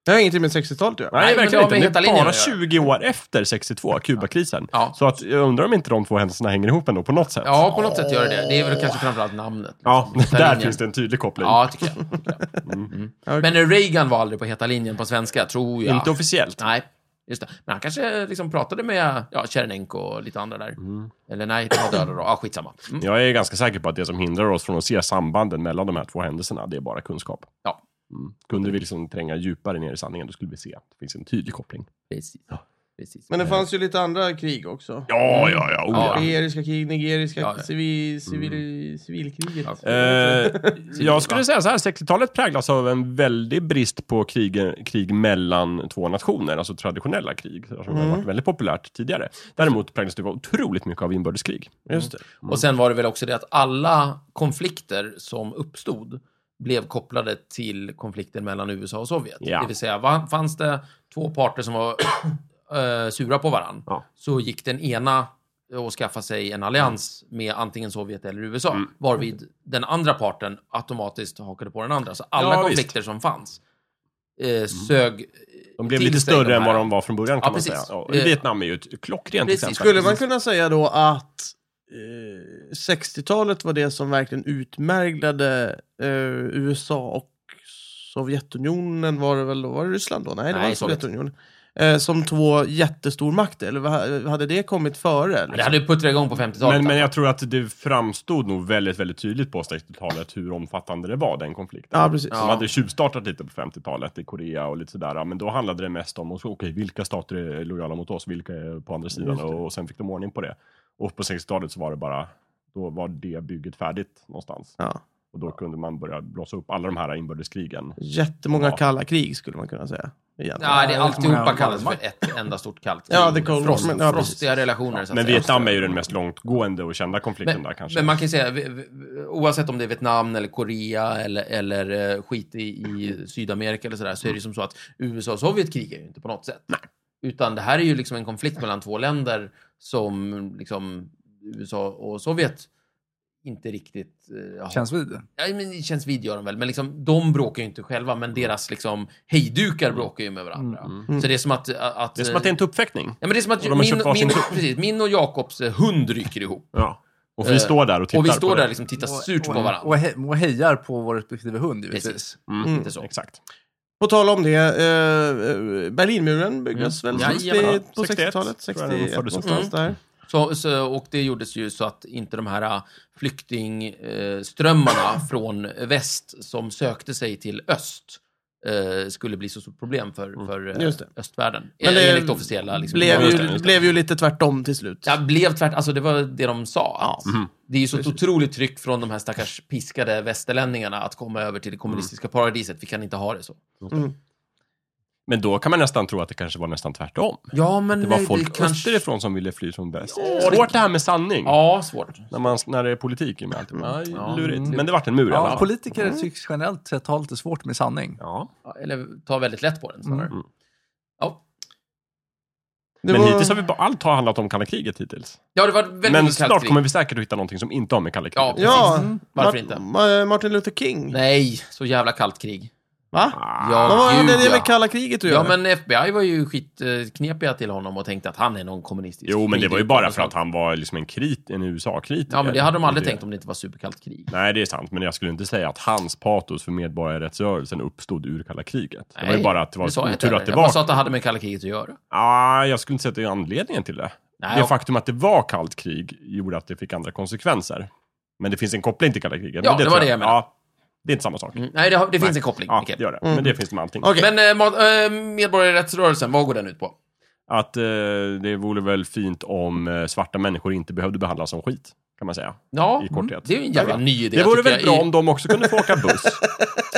Speaker 1: Det har ingenting med 60-talet att göra.
Speaker 4: Nej,
Speaker 2: Nej, men det har
Speaker 4: verkligen
Speaker 2: med
Speaker 4: inte.
Speaker 2: heta
Speaker 4: Det är
Speaker 2: linjen
Speaker 4: bara
Speaker 2: att göra.
Speaker 4: 20 år efter 62, Kubakrisen.
Speaker 2: Ja.
Speaker 4: Så att, jag undrar om inte de två händelserna hänger ihop ändå på något sätt.
Speaker 2: Ja, på något sätt gör det det. Det är väl kanske framförallt namnet.
Speaker 4: Ja, [LAUGHS] där
Speaker 2: Heta linjen.
Speaker 4: finns det en tydlig koppling.
Speaker 2: Ja, tycker jag. Tycker
Speaker 4: [LAUGHS]
Speaker 2: jag. Mm. Men Reagan var aldrig på heta linjen på svenska, tror jag.
Speaker 4: Inte officiellt.
Speaker 2: Nej, just det. Men han kanske liksom pratade med ja, Tjernenko och lite andra där. Eller nej, de var döda då. Ja, skitsamma. Mm.
Speaker 4: Jag är ganska säker på att det som hindrar oss från att se sambanden mellan de här två händelserna, det är bara kunskap.
Speaker 2: Ja.
Speaker 4: Mm. Kunde vi liksom tränga djupare ner i sanningen, då skulle vi se att det finns en tydlig koppling.
Speaker 2: Precis. Precis.
Speaker 1: Men det fanns ju lite andra krig också.
Speaker 4: Ja, ja, ja. Oh,
Speaker 2: Ja,
Speaker 4: ja.
Speaker 1: Algeriska krig, nigeriska
Speaker 2: Ja, ja.
Speaker 1: civil, civil, civilkriget.
Speaker 2: Ja.
Speaker 4: Eh, jag
Speaker 2: va?
Speaker 4: skulle säga så här, 60-talet präglas av en väldig brist på krig, krig mellan två nationer, alltså traditionella krig, som har varit väldigt populärt tidigare. Däremot präglas det av otroligt mycket av inbördeskrig.
Speaker 1: Just det.
Speaker 2: Och sen var det väl också det att alla konflikter som uppstod blev kopplade till konflikten mellan USA och Sovjet.
Speaker 4: Ja.
Speaker 2: Det vill säga, va- fanns det två parter som var [COUGHS] eh, sura på varandra
Speaker 4: Ja.
Speaker 2: så gick den ena och skaffa sig en allians med antingen Sovjet eller USA,
Speaker 4: Mm.
Speaker 2: varvid den andra parten automatiskt hakade på den andra. Så alla
Speaker 4: Ja, Mm.
Speaker 2: konflikter som fanns eh, sög
Speaker 4: De blev
Speaker 2: till
Speaker 4: lite
Speaker 2: sig
Speaker 4: större än
Speaker 2: här.
Speaker 4: vad de var från början,
Speaker 2: Ja,
Speaker 4: kan man
Speaker 2: precis.
Speaker 4: säga. Ja,
Speaker 2: Eh,
Speaker 4: Vietnam är ju ett klockrent
Speaker 2: precis.
Speaker 4: exempel.
Speaker 1: Skulle man kunna säga då att eh, 60-talet var det som verkligen utmärglade eh, USA och Sovjetunionen var det väl då? Var det Ryssland då? Nej, det
Speaker 2: Nej,
Speaker 1: var
Speaker 2: Sovjet.
Speaker 1: Sovjetunionen. Eh, som två jättestormakter, eller vad- hade det kommit före?
Speaker 2: Det
Speaker 1: Liksom?
Speaker 2: hade ju puttrat igång på 50-talet.
Speaker 4: Men, men jag tror att det framstod nog väldigt, väldigt tydligt på 60-talet hur omfattande det var, den konflikten.
Speaker 1: Ja, precis.
Speaker 4: De hade tjuvstartat lite på 50-talet i Korea och lite sådär, men då handlade det mest om okej, vilka stater är lojala mot oss, vilka är på andra sidan och, och sen fick de ordning på det. Och på 60-talet så var det bara, då var det bygget färdigt någonstans.
Speaker 1: Ja.
Speaker 4: Och då kunde man börja blåsa upp alla de här inbördeskrigen.
Speaker 1: Jättemånga
Speaker 4: Ja.
Speaker 1: kalla krig skulle man kunna säga. egentligen.
Speaker 2: Nej, det
Speaker 4: Eh,
Speaker 2: är alltihopa
Speaker 3: Många
Speaker 2: kallas för ett enda stort kallt krig.
Speaker 1: Ja, det kom-
Speaker 2: Frost,
Speaker 1: men- ja, precis.
Speaker 2: frostiga relationer. så att
Speaker 4: Men
Speaker 2: säga.
Speaker 4: Vietnam är ju den mest långtgående och kända konflikten
Speaker 2: men,
Speaker 4: där kanske.
Speaker 2: men man kan ju säga, vi- vi- oavsett om det är Vietnam eller Korea eller, eller eh, skit i, i Sydamerika eller sådär, så är det ju som så att USA och Sovjet krigar ju inte på något sätt. Utan det här är ju liksom en konflikt mellan två länder som liksom USA och Sovjet inte riktigt eh, har.
Speaker 3: Känns vid.
Speaker 2: Ja, men det känns vid gör de väl, men liksom, de bråkar ju inte själva, men deras liksom, hejdukar bråkar ju med varandra.
Speaker 1: Mm.
Speaker 2: Så det är som att... att
Speaker 4: Mm.
Speaker 2: eh,
Speaker 4: Det är som att det är en tuppfäktning.
Speaker 2: Ja, men det är som att
Speaker 4: Och de har
Speaker 2: min,
Speaker 4: köpt varsin
Speaker 2: min,
Speaker 4: tupp.
Speaker 2: precis, min och Jakobs eh, hund ryker ihop.
Speaker 4: Ja. Och vi står där och tittar
Speaker 2: Och vi
Speaker 4: på
Speaker 2: står
Speaker 4: det.
Speaker 2: där och liksom tittar surt på
Speaker 3: och,
Speaker 2: varandra.
Speaker 3: Och, he- och hejar på vår respektive hund givetvis.
Speaker 2: Precis.
Speaker 4: Mm.
Speaker 2: Inte så.
Speaker 4: Exakt.
Speaker 1: På tal om det, eh, Berlinmuren byggdes väl
Speaker 2: Mm.
Speaker 1: sist i-
Speaker 2: Jajamän.
Speaker 1: på
Speaker 4: 61,
Speaker 1: 60-talet?
Speaker 4: tror jag den
Speaker 1: 61
Speaker 4: fördes upp.
Speaker 1: någonstans där.
Speaker 2: Så, så, och det gjordes ju så att inte de här eh,
Speaker 4: [CLEARS THROAT]
Speaker 2: flyktingströmmarna från väst som sökte sig till öst eh, skulle bli så stort problem för,
Speaker 4: Mm.
Speaker 2: för eh,
Speaker 1: Just det.
Speaker 2: östvärlden.
Speaker 1: Men det
Speaker 2: enligt officiella liksom,
Speaker 1: Blev
Speaker 4: just
Speaker 1: ju,
Speaker 4: det, just det.
Speaker 1: blev ju lite tvärtom till slut.
Speaker 2: Ja, blev tvärt, alltså det var det de sa.
Speaker 4: Mm-hmm.
Speaker 2: att Det är ju så ett otroligt tryck från de här stackars piskade västerlänningarna att komma över
Speaker 4: Mm.
Speaker 2: till det kommunistiska paradiset. Vi kan inte ha det så.
Speaker 4: Men då kan man nästan tro att det kanske var nästan tvärtom.
Speaker 2: Ja, men
Speaker 4: Det var
Speaker 2: nej,
Speaker 4: folk
Speaker 2: kanske...
Speaker 4: österifrån som ville fly som bäst.
Speaker 2: Ja, det-
Speaker 4: Svårt det här med sanning.
Speaker 2: Ja, svårt.
Speaker 4: När, man, när det är politik med allt. Aj,
Speaker 2: Ja. mm.
Speaker 4: lurigt. Men det vart en mur i alla
Speaker 3: Ja,
Speaker 4: fall.
Speaker 3: politiker tycks generellt sett ha lite svårt med sanning.
Speaker 4: Ja.
Speaker 2: Ja, Eller ta väldigt lätt på den snarare.
Speaker 4: Mm.
Speaker 2: Ja.
Speaker 1: Det
Speaker 4: Men
Speaker 1: var-
Speaker 4: hittills har vi bara, allt har handlat om kalla kriget hittills.
Speaker 2: ja, det var väldigt
Speaker 4: Men
Speaker 2: mycket kallt
Speaker 4: snart
Speaker 2: krig.
Speaker 4: kommer vi säkert att hitta någonting som inte har med kalla kriget
Speaker 2: Ja,
Speaker 4: att göra.
Speaker 1: Ja, Mm.
Speaker 2: precis. Varför inte?
Speaker 1: Ma- Martin Luther King.
Speaker 2: Nej, så jävla kallt krig.
Speaker 1: Va?
Speaker 2: Ja,
Speaker 1: Vad var
Speaker 2: gud,
Speaker 1: det, det
Speaker 2: ja.
Speaker 1: med kalla kriget att
Speaker 2: Ja,
Speaker 1: göra?
Speaker 2: men FBI var ju skitknepiga till honom och tänkte att han är någon kommunistisk.
Speaker 4: Jo, men det var ju
Speaker 2: skitgud.
Speaker 4: bara för att han var liksom en, krit, en USA-kritiker.
Speaker 2: Ja, men det hade de aldrig tänkt om det inte var superkallt krig.
Speaker 4: Nej, det är sant. Men jag skulle inte säga att hans patos för medborgarrättsrörelsen uppstod ur kalla kriget. Det var
Speaker 2: Nej,
Speaker 4: ju bara att det var
Speaker 2: sa jag inte
Speaker 4: otur
Speaker 2: heller.
Speaker 4: att det
Speaker 2: Jag bara sa
Speaker 4: var...
Speaker 2: att det hade med kalla kriget att göra.
Speaker 4: Ah, jag skulle inte säga att det är anledningen till det.
Speaker 2: Nej,
Speaker 4: det
Speaker 2: ja.
Speaker 4: faktum att det var kallt krig gjorde att det fick andra konsekvenser. Men det finns en koppling till kalla kriget.
Speaker 2: Ja,
Speaker 4: men
Speaker 2: det
Speaker 4: tror
Speaker 2: var det jag menade.
Speaker 4: Ja, det är inte samma sak.
Speaker 2: Mm, Nej, det, har- det finns en koppling,
Speaker 4: Ja,
Speaker 2: Mikael.
Speaker 4: det gör det. Men det finns det med allting.
Speaker 1: Mm. Okej.
Speaker 2: Men eh, ma- eh, medborgarrättsrörelsen, vad går den ut på?
Speaker 4: Att eh, det vore väl fint om eh, svarta människor inte behövde behandlas som skit, kan man säga.
Speaker 2: Ja,
Speaker 4: I korthet.
Speaker 2: Mm, det är ju en jävla ny idé.
Speaker 4: Det vore
Speaker 2: tycker
Speaker 4: väl
Speaker 2: jag.
Speaker 4: bra om de också kunde få åka
Speaker 2: [LAUGHS]
Speaker 4: buss.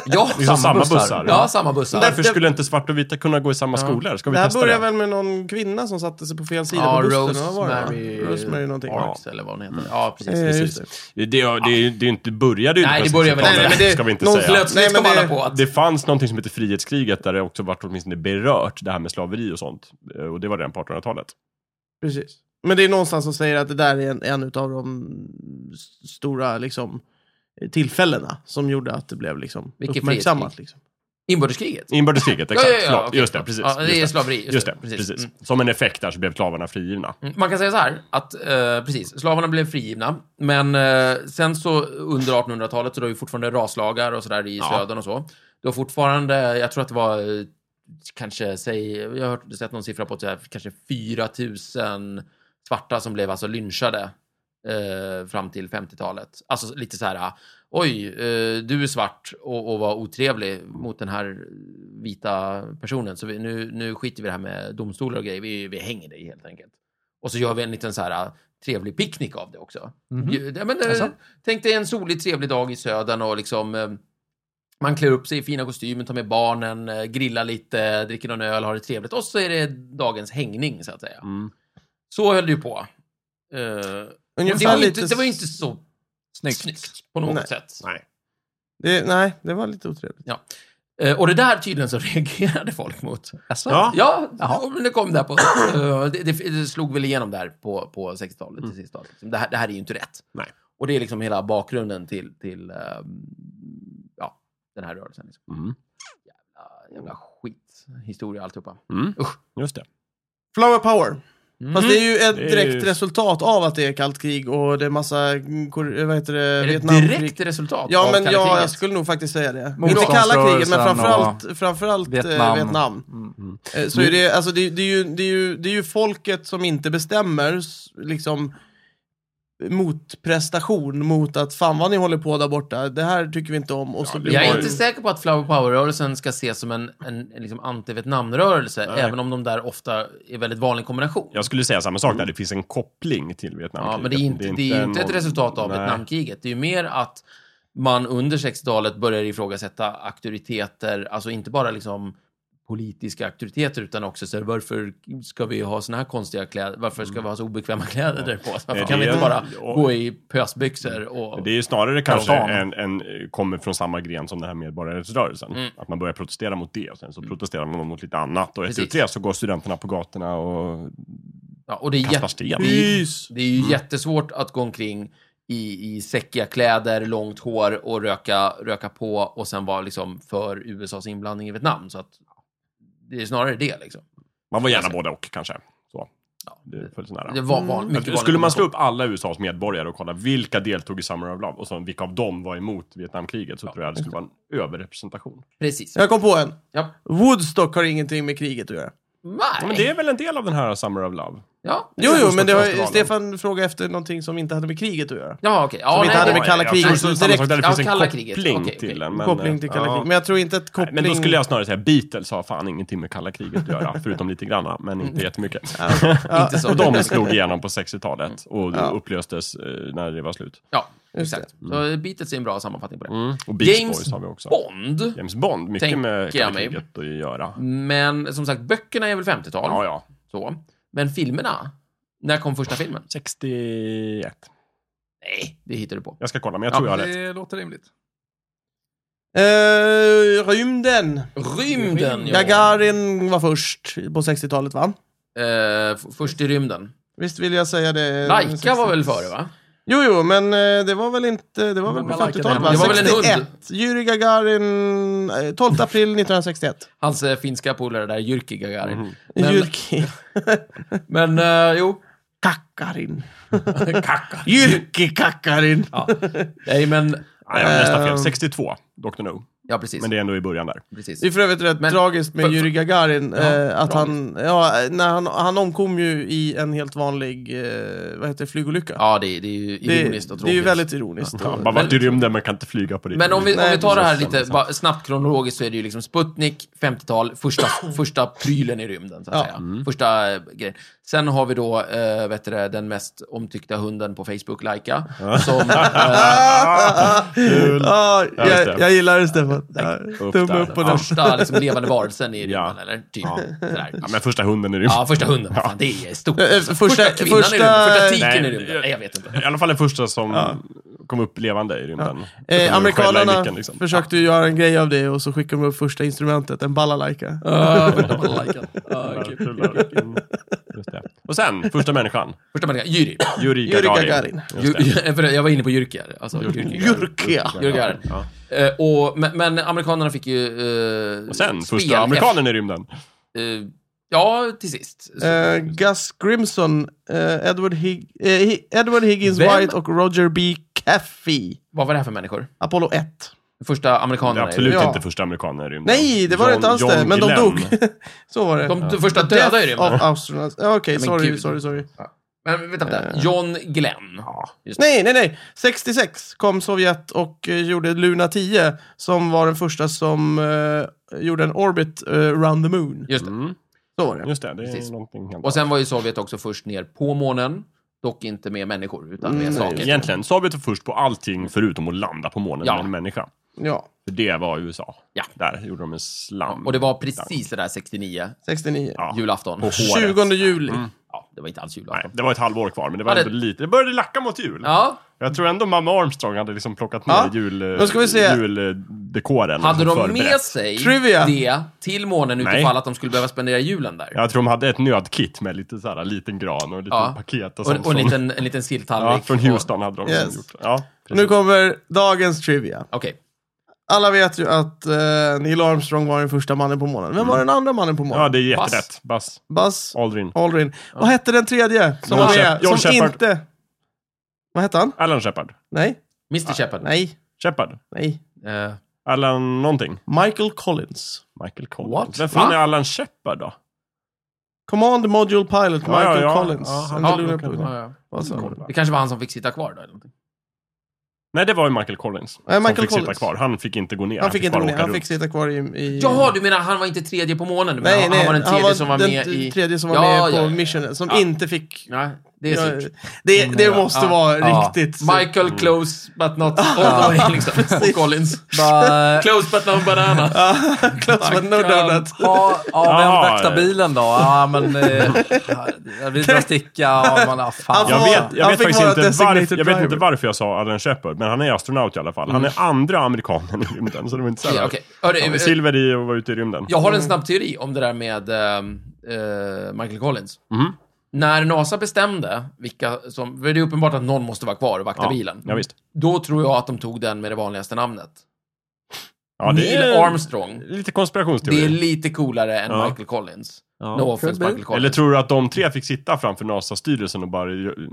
Speaker 2: Ja,
Speaker 4: Liksom samma
Speaker 3: bussar.
Speaker 4: bussar.
Speaker 2: ja, samma bussar.
Speaker 4: Varför skulle inte svarta och vita kunna gå i samma skolor? Ska vi
Speaker 1: Det här
Speaker 4: testa det?
Speaker 1: börjar väl med någon kvinna som satte sig på fel sida
Speaker 2: Ja,
Speaker 1: på bussen. eller vad var det?
Speaker 2: Rosemary...
Speaker 1: Rosemary någonting.
Speaker 2: Parks, eller vad hon heter. Ja, precis.
Speaker 1: Eh,
Speaker 4: Precis.
Speaker 1: just det.
Speaker 4: Det, det, det, det inte började ju
Speaker 2: Nej,
Speaker 4: på
Speaker 2: det började väl-
Speaker 4: 60-talet,
Speaker 1: nej, nej, men det-
Speaker 4: ska vi inte
Speaker 1: någon
Speaker 4: säga.
Speaker 1: slöt-
Speaker 2: Plötsligt
Speaker 1: Nej, men
Speaker 2: kom alla
Speaker 1: det-
Speaker 2: på att...
Speaker 4: Det fanns någonting som hette frihetskriget där det också vart åtminstone berört det här med slaveri och sånt. Eh, Och det var redan på 1800-talet.
Speaker 1: Precis. Men det är någonstans som säger att det där är en, en av de s- stora liksom, tillfällena som gjorde att det blev liksom,
Speaker 2: Vilket
Speaker 1: uppmärksammat.
Speaker 2: frihetskrig.
Speaker 1: Liksom.
Speaker 2: Inbördeskriget.
Speaker 4: Inbördeskriget,
Speaker 2: [LAUGHS] Ja,
Speaker 4: exakt.
Speaker 2: ja, ja,
Speaker 4: Förlåt.
Speaker 2: okej,
Speaker 4: just det,
Speaker 2: förlåt.
Speaker 4: precis.
Speaker 2: Ja, det är
Speaker 4: just
Speaker 2: slaveri, just
Speaker 4: Just
Speaker 2: det,
Speaker 4: det,
Speaker 2: precis.
Speaker 4: precis.
Speaker 2: Mm.
Speaker 4: Som en effekt där så blev slavarna frigivna.
Speaker 2: Mm, Man kan säga så här, att eh, precis, slavarna blev frigivna, men eh, sen så under 1800-talet så då är ju fortfarande raslagar och sådär i
Speaker 4: Ja.
Speaker 2: södern och så. Du har fortfarande, jag tror att det var eh, kanske, säg, jag har hört, sett någon siffra på att det är kanske 4000 svarta som blev alltså lynchade eh, fram till 50-talet. Alltså lite så här, oj, eh, du är svart och, och var otrevlig mot den här vita personen, så vi, nu, nu skiter vi i det här med domstolar och grejer, vi, vi hänger dig helt enkelt. Och så gör vi en liten så här eh, trevlig picknick av det också. Ju- Ja, men, eh,
Speaker 3: Jaså?
Speaker 2: Tänk dig en solig, trevlig dag i södern och liksom eh, man klär upp sig i fina kostymer, tar med barnen, eh, grillar lite, dricker någon öl, har det trevligt. Och så är det dagens hängning, så att säga.
Speaker 4: Mm.
Speaker 2: Så höll det ju på. Eh, och det,
Speaker 1: Ungefär
Speaker 2: var ju
Speaker 1: lite...
Speaker 2: inte, det var ju inte så
Speaker 3: Snyggt.
Speaker 2: snyggt på något
Speaker 1: Nej.
Speaker 2: sätt.
Speaker 4: Nej.
Speaker 1: det, nej, det var lite otrevligt.
Speaker 2: Eh, och det där tydligen så [LAUGHS] reagerade folk mot.
Speaker 3: Jaså?
Speaker 4: Ja.
Speaker 2: Ja,
Speaker 3: Jaha.
Speaker 2: men det kom där på... eh, det, det, det slog väl igenom där på, på 60-talet till sist. då, Liksom. Det, här, det här är ju inte rätt.
Speaker 4: Nej.
Speaker 2: Och det är liksom hela bakgrunden till, till eh, ja, den här rörelsen. Liksom.
Speaker 4: Mm.
Speaker 2: Ah, Jävla skithistoria alltihopa.
Speaker 4: Mm.
Speaker 2: Usch.
Speaker 4: Just det.
Speaker 1: Flower power.
Speaker 2: Mm.
Speaker 1: Fast det är ju ett
Speaker 4: Det är
Speaker 1: direkt
Speaker 4: ju-
Speaker 1: resultat av att det är kallt krig och det är massa mm, kor- vad heter det,
Speaker 2: Är det
Speaker 1: Vietnamkrig.
Speaker 2: ett direkt resultat
Speaker 1: Ja,
Speaker 2: av
Speaker 1: men
Speaker 2: kalla
Speaker 1: ja,
Speaker 2: kriget?
Speaker 1: jag skulle nog faktiskt säga det. Inte
Speaker 3: Motståndsrörelsen
Speaker 1: kalla kriget, men
Speaker 3: och-
Speaker 1: framförallt, framförallt Vietnam.
Speaker 3: Vietnam.
Speaker 1: Vietnam.
Speaker 3: Mm.
Speaker 1: Eh, Så är det, alltså, det, det, är ju, det, är ju, det är ju folket som inte bestämmer, s- liksom motprestation mot att fan vad ni håller på där borta, det här tycker vi inte om. Och så
Speaker 4: det
Speaker 1: blir
Speaker 2: Jag är
Speaker 1: man-
Speaker 2: inte säker på att Flower Power-rörelsen ska ses som en, en, en liksom anti-Vietnam-rörelse,
Speaker 4: Nej.
Speaker 2: även om de där ofta är väldigt vanlig kombination.
Speaker 4: Jag skulle säga samma sak där. Det finns en koppling till Vietnamkriget.
Speaker 2: Mm. Ja, men det är ju inte, det är ju inte ett
Speaker 4: någon-
Speaker 2: resultat av
Speaker 4: Nej.
Speaker 2: Vietnamkriget. Det är ju mer att man under 60-talet börjar ifrågasätta auktoriteter, alltså inte bara liksom politiska auktoriteter, utan också så här, varför ska vi ha såna här konstiga kläder? Varför ska vi ha så obekväma kläder på oss? Varför
Speaker 4: Nej,
Speaker 2: kan vi
Speaker 4: det är-
Speaker 2: inte bara
Speaker 4: och-
Speaker 2: gå i pösbyxor och...
Speaker 4: Men Det är ju snarare kanske
Speaker 3: Karavana.
Speaker 4: en, en, eh, kommer från samma gren som den här medborgarrättsrörelsen.
Speaker 2: Mm.
Speaker 4: Att man börjar protestera mot det och sen så protesterar man mot lite annat. Och efter
Speaker 2: Precis.
Speaker 4: tre så går studenterna på gatorna och
Speaker 2: Ja, och det är
Speaker 4: kastar sten.
Speaker 2: jätte- Det är, ju-
Speaker 1: Hys.
Speaker 2: det är ju jättesvårt att gå omkring i, i säckiga kläder, långt hår och röka, röka på och sen vara liksom för USAs inblandning i Vietnam. Så att det är snarare det liksom.
Speaker 4: Man var gärna både och kanske. Så.
Speaker 2: Ja.
Speaker 4: Det föll så
Speaker 2: Det
Speaker 4: nära.
Speaker 2: var van, mycket vanligt.
Speaker 4: Mm. Skulle man slå upp alla USAs medborgare och kolla vilka deltog i Summer of Love och så vilka av dem var emot Vietnamkriget så tror jag det skulle vara en överrepresentation.
Speaker 2: Precis.
Speaker 1: Jag kom på en.
Speaker 2: Ja.
Speaker 1: Woodstock har ingenting med kriget att göra.
Speaker 4: Ja,
Speaker 2: Nej.
Speaker 4: men det är väl en del av den här Summer of Love?
Speaker 2: Ja,
Speaker 1: Jo, jo, men det var,
Speaker 2: Stockholmsfestivalen.
Speaker 1: Stefan frågade efter någonting som inte hade med kriget att göra.
Speaker 2: Ja, okej. Ja,
Speaker 1: Som inte
Speaker 2: nej,
Speaker 1: hade
Speaker 2: det
Speaker 1: med
Speaker 2: var
Speaker 1: kalla
Speaker 2: jag. Jag
Speaker 1: kriget.
Speaker 2: tror-
Speaker 4: Precis
Speaker 1: direkt-
Speaker 4: alltså, samma sak där. Det
Speaker 2: Ja,
Speaker 4: finns en
Speaker 2: kalla
Speaker 4: koppling
Speaker 2: kriget. Okej,
Speaker 4: till
Speaker 2: okej.
Speaker 4: den. Men,
Speaker 1: koppling
Speaker 4: eh,
Speaker 1: till kalla
Speaker 2: ja.
Speaker 1: kriget. Men jag tror inte att
Speaker 4: Nej,
Speaker 1: koppling...
Speaker 4: men då skulle jag snarare säga Beatles har fan ingenting med kalla kriget att
Speaker 2: [LAUGHS]
Speaker 4: göra, förutom lite granna, men
Speaker 2: Mm.
Speaker 4: inte jättemycket.
Speaker 2: Inte så.
Speaker 4: Och
Speaker 2: [LAUGHS]
Speaker 4: de slog igenom på 60-talet och
Speaker 1: Ja.
Speaker 4: upplöstes eh, när det var slut.
Speaker 2: Ja,
Speaker 1: Just
Speaker 2: exakt. Så Beatles är en bra sammanfattning på det.
Speaker 4: Och Beach
Speaker 2: Mm. James
Speaker 4: Boys har vi också.
Speaker 2: Bond,
Speaker 4: James Bond, mycket
Speaker 2: Tänker
Speaker 4: med
Speaker 2: jag
Speaker 4: kalla
Speaker 2: mig.
Speaker 4: kriget att göra.
Speaker 2: men som sagt, böckerna är väl 50-tal.
Speaker 4: Ja, ja.
Speaker 2: Så. Men filmerna? När kom första filmen?
Speaker 4: 61.
Speaker 2: Nej, det hittar du på.
Speaker 4: Jag ska kolla, men jag
Speaker 2: Ja,
Speaker 4: tror jag har rätt.
Speaker 3: Det låter rimligt.
Speaker 1: [LAUGHS] Eh, rymden.
Speaker 2: Rymden, ja.
Speaker 1: Gagarin var först på 60-talet, va?
Speaker 2: Eh, f- först i rymden.
Speaker 1: Visst vill jag säga det. eh,
Speaker 2: Laika var väl före, va?
Speaker 1: Jo, jo, men eh, det var väl inte... Det var väl på
Speaker 3: Många Laika
Speaker 1: 50-talet,
Speaker 3: där.
Speaker 1: va?
Speaker 2: Det var väl en hund.
Speaker 1: 61. Yuri Gagarin, eh, 12 april 1961.
Speaker 2: Hans eh, finska polare där, Jyrki Gagarin.
Speaker 1: Mhm.
Speaker 2: Men,
Speaker 1: Jyrki
Speaker 2: men
Speaker 1: [LAUGHS]
Speaker 2: eh, jo.
Speaker 1: Kakarin.
Speaker 2: Kacka.
Speaker 1: Jyrki Kakarin.
Speaker 2: Ja. Nej, men...
Speaker 4: Nej, jag har nästan
Speaker 1: Ehm.
Speaker 4: fel. 62, Dr. No.
Speaker 2: Ja, precis.
Speaker 4: Men det är ändå i början där.
Speaker 2: precis.
Speaker 1: Det är för övrigt rätt
Speaker 2: Men-
Speaker 1: tragiskt med
Speaker 2: för- för-
Speaker 1: Yuri Gagarin.
Speaker 2: Ja,
Speaker 1: eh, att
Speaker 2: tragiskt.
Speaker 1: han, ja, när han, han omkom ju i en helt vanlig eh, vad heter det, flygolycka.
Speaker 2: Ja, det, det är ju
Speaker 1: det,
Speaker 2: ironiskt och tråkigt.
Speaker 1: det är ju väldigt ironiskt.
Speaker 4: Ja, bara varit i rymden men kan inte flyga på det.
Speaker 2: Men om vi, om
Speaker 1: Nej,
Speaker 2: vi tar det här
Speaker 4: precis.
Speaker 2: lite bara snabbt kronologiskt så är det ju liksom Sputnik, 50-tal, första,
Speaker 1: [CLEARS THROAT]
Speaker 2: första prylen i rymden, så att
Speaker 1: Ja. Mm.
Speaker 2: säga. Första eh, grejen. Sen har vi då, äh, vet du det, den mest omtyckta hunden på Facebook, Laika, som...
Speaker 1: [LAUGHS]
Speaker 2: eh,
Speaker 4: Kul.
Speaker 1: Ja,
Speaker 4: Ja, just det.
Speaker 1: jag, jag gillar det Stefan. Ja,
Speaker 4: Upp
Speaker 1: Tumme
Speaker 4: där.
Speaker 1: upp på den.
Speaker 2: första liksom, levande varelsen i rymden,
Speaker 4: Ja.
Speaker 2: eller? Typ.
Speaker 4: Ja.
Speaker 2: Sådär.
Speaker 4: Ja, men första hunden i rymden.
Speaker 2: Ja, första hunden. Fan, det är stort.
Speaker 1: Eh, eh,
Speaker 2: Första,
Speaker 1: första-
Speaker 2: kvinnan i rymden.
Speaker 1: första-
Speaker 2: Första tiken i
Speaker 4: Nej,
Speaker 2: rymden.
Speaker 4: jag-
Speaker 2: Nej, jag vet inte.
Speaker 4: I alla fall den första som kom upp levande i rymden.
Speaker 1: Eh,
Speaker 4: Skälla i
Speaker 1: amerikanerna
Speaker 4: micken, liksom.
Speaker 1: försökte ju göra en grej av det och så skickade de upp första instrumentet, en balalaika.
Speaker 2: Ah, [LAUGHS] första balalaika. Ah,
Speaker 4: Ja,
Speaker 2: kul.
Speaker 4: rullar. Mm, Just det. Och sen, första människan.
Speaker 2: Första människan, Jyri.
Speaker 4: Yuri
Speaker 1: Yuri
Speaker 4: Gagarin.
Speaker 1: Gagarin.
Speaker 4: Just det.
Speaker 2: Ju- [LAUGHS] för Jag var inne på Jyrki här. Alltså, Jyrki.
Speaker 1: Jyrkia!
Speaker 2: Yuri Gagarin.
Speaker 4: Ja.
Speaker 2: Eh, och, men, men amerikanerna fick ju... Eh,
Speaker 4: Och sen,
Speaker 2: spel-
Speaker 4: första amerikanen i rymden.
Speaker 2: Eh, ja, till sist. Så,
Speaker 1: Eh, Gus Grimson, eh, Edward, Hig- eh, Hi- Edward Higgins
Speaker 2: Vem?
Speaker 1: White och Roger B. Caffey.
Speaker 2: Vad var det här för människor?
Speaker 1: Apollo 1.
Speaker 2: Första
Speaker 4: Det
Speaker 2: amerikanerna.
Speaker 4: är absolut
Speaker 1: Ja.
Speaker 4: inte första amerikanen i rymden.
Speaker 1: Nej, det var det
Speaker 4: John-
Speaker 1: inte alls
Speaker 4: John
Speaker 1: det. Men de
Speaker 4: Glenn.
Speaker 1: dog. [LAUGHS] så var det.
Speaker 2: De de första döda i rymden.
Speaker 1: Death of astronauts. Ja, Okej,
Speaker 2: men
Speaker 1: sorry,
Speaker 2: gud.
Speaker 1: sorry, sorry.
Speaker 2: Men vänta, vänta.
Speaker 1: Eh.
Speaker 2: John Glenn. Just det.
Speaker 1: Nej, nej, nej. 66 kom Sovjet och eh, gjorde Luna 10 som var den första som eh, gjorde en orbit eh, around the moon.
Speaker 2: Just det.
Speaker 4: Mm,
Speaker 1: Så var det.
Speaker 4: just det, det är
Speaker 2: Precis.
Speaker 4: någonting helt
Speaker 2: Och sen var ju Sovjet också först ner på månen. Dock inte med människor, utan med
Speaker 1: Mm, nej,
Speaker 2: saker.
Speaker 4: Egentligen, Sovjet var först på allting förutom att landa på månen
Speaker 2: Ja.
Speaker 4: med en människa.
Speaker 1: Ja,
Speaker 4: För det var USA.
Speaker 2: Ja.
Speaker 4: Där gjorde de en slam.
Speaker 2: Och det var precis det där 69,
Speaker 1: 69.
Speaker 4: Ja.
Speaker 2: julafton.
Speaker 4: På håret.
Speaker 1: 20 juli.
Speaker 2: Ja, det var inte alls
Speaker 4: Nej,
Speaker 2: julafton.
Speaker 4: det var ett halvår kvar, men det var
Speaker 2: Ja, det-
Speaker 4: ändå lite. Det började lacka mot jul.
Speaker 2: Ja,
Speaker 4: Jag tror ändå mamma Armstrong hade liksom plockat med
Speaker 1: Ja,
Speaker 4: jul,
Speaker 1: då ska vi se.
Speaker 4: juldekoren.
Speaker 2: hade
Speaker 4: liksom
Speaker 2: de
Speaker 4: förberett.
Speaker 2: med sig
Speaker 1: Trivia.
Speaker 2: det till månen
Speaker 4: Nej.
Speaker 2: utifall att de skulle behöva spendera julen där?
Speaker 4: Jag tror de hade ett nödkit med lite så här, liten gran och lite
Speaker 2: Ja.
Speaker 4: paket och sånt.
Speaker 2: Och, och en
Speaker 4: från-
Speaker 2: liten, en liten silltallrik.
Speaker 4: [LAUGHS] ja, från Houston hade de liksom
Speaker 1: Yes.
Speaker 4: gjort. Ja,
Speaker 1: Nu kommer dagens trivia.
Speaker 2: Och- Okej.
Speaker 1: Alla vet ju att eh, Neil Armstrong var den första mannen på månen. Vem var
Speaker 2: Mm.
Speaker 1: den andra mannen på månen?
Speaker 4: ja, det är
Speaker 2: Buzz.
Speaker 4: jätterätt. Buzz
Speaker 1: Buzz
Speaker 4: Aldrin.
Speaker 1: Aldrin. Vad hette den tredje som
Speaker 4: John
Speaker 1: var med?
Speaker 4: Shep- John
Speaker 1: som
Speaker 4: Shepard.
Speaker 1: inte... Vad hette han?
Speaker 4: Alan Shepard.
Speaker 1: Nej,
Speaker 2: Mr Shepard.
Speaker 1: nej,
Speaker 4: Shepard.
Speaker 1: nej.
Speaker 2: Eh,
Speaker 4: Alan någonting.
Speaker 1: Michael Collins.
Speaker 4: Michael Collins.
Speaker 2: What?
Speaker 4: Vem fan
Speaker 2: Va?
Speaker 4: är Alan Shepard då?
Speaker 1: Command Module Pilot
Speaker 4: Ja,
Speaker 1: Michael
Speaker 4: ja, ja.
Speaker 1: Collins.
Speaker 4: Ja, han-
Speaker 1: Under
Speaker 2: ja,
Speaker 1: Lunar
Speaker 4: kan-
Speaker 1: Probe.
Speaker 2: ja, ja.
Speaker 1: Vad sa han?
Speaker 2: Det kanske var han som fick sitta kvar då. Eller någonting.
Speaker 4: Nej, det var ju Michael Collins.
Speaker 1: Nej, Michael
Speaker 4: som fick sitta
Speaker 1: Collins.
Speaker 4: kvar. Han fick inte gå ner.
Speaker 1: Han fick inte
Speaker 4: bara
Speaker 1: gå ner,
Speaker 4: åka
Speaker 1: han
Speaker 4: runt.
Speaker 1: fick sitta kvar i... i
Speaker 2: Jaha, du menar han var inte tredje på månen? Men
Speaker 1: nej,
Speaker 2: han,
Speaker 1: nej,
Speaker 2: han var den tredje som var
Speaker 1: den
Speaker 2: med i...
Speaker 1: tredje som var
Speaker 2: Ja,
Speaker 1: med på
Speaker 2: ja, ja, ja.
Speaker 1: missionen, som
Speaker 2: Ja.
Speaker 1: inte fick...
Speaker 2: Nej, det är
Speaker 1: Ja,
Speaker 2: surt. Mm,
Speaker 1: det, det måste
Speaker 2: Ja,
Speaker 1: vara
Speaker 2: ja.
Speaker 1: riktigt...
Speaker 2: Michael close but not all the way, liksom. Och Collins.
Speaker 3: [LAUGHS] Bara,
Speaker 2: Close but not banana.
Speaker 1: [LAUGHS] Close but no
Speaker 2: Michael.
Speaker 1: donut.
Speaker 3: ja, ja,
Speaker 4: Ja,
Speaker 3: vem vaktar
Speaker 4: eh.
Speaker 3: bilen då? Ja, men... Eh, ja, vi drar sticka och man... Ah, fan.
Speaker 1: Han
Speaker 4: Jag
Speaker 1: får-
Speaker 4: vet, jag
Speaker 1: Han
Speaker 4: vet
Speaker 1: fick
Speaker 4: faktiskt
Speaker 1: vara
Speaker 4: inte,
Speaker 1: designated
Speaker 4: varför, jag vet
Speaker 1: driver. Mm.
Speaker 4: inte varför jag sa Alan Shepard, men han är astronaut i alla fall. Han är andra amerikanen i rymden, så det var inte så här.
Speaker 2: Ja, okej. Hörru,
Speaker 4: Han var
Speaker 2: eh,
Speaker 4: silver i och var ute i rymden.
Speaker 2: Jag har en snabb teori om det där med ehm, eh, Michael Collins.
Speaker 4: Mhm.
Speaker 2: När NASA bestämde vilka som... För det är uppenbart att någon måste vara kvar och vakta
Speaker 4: Ja,
Speaker 2: bilen.
Speaker 4: Ja, visst.
Speaker 2: Då tror jag att de tog den med det vanligaste namnet.
Speaker 4: Ja, det
Speaker 2: Neil
Speaker 4: är
Speaker 2: Armstrong.
Speaker 4: lite
Speaker 2: Det är
Speaker 4: konspirationsteori.
Speaker 2: lite coolare än
Speaker 4: Ja.
Speaker 2: Michael Collins.
Speaker 4: Ja.
Speaker 2: No offense,
Speaker 3: Could be.
Speaker 2: Michael Collins.
Speaker 4: Eller tror du att de tre fick sitta framför NASA-styrelsen och bara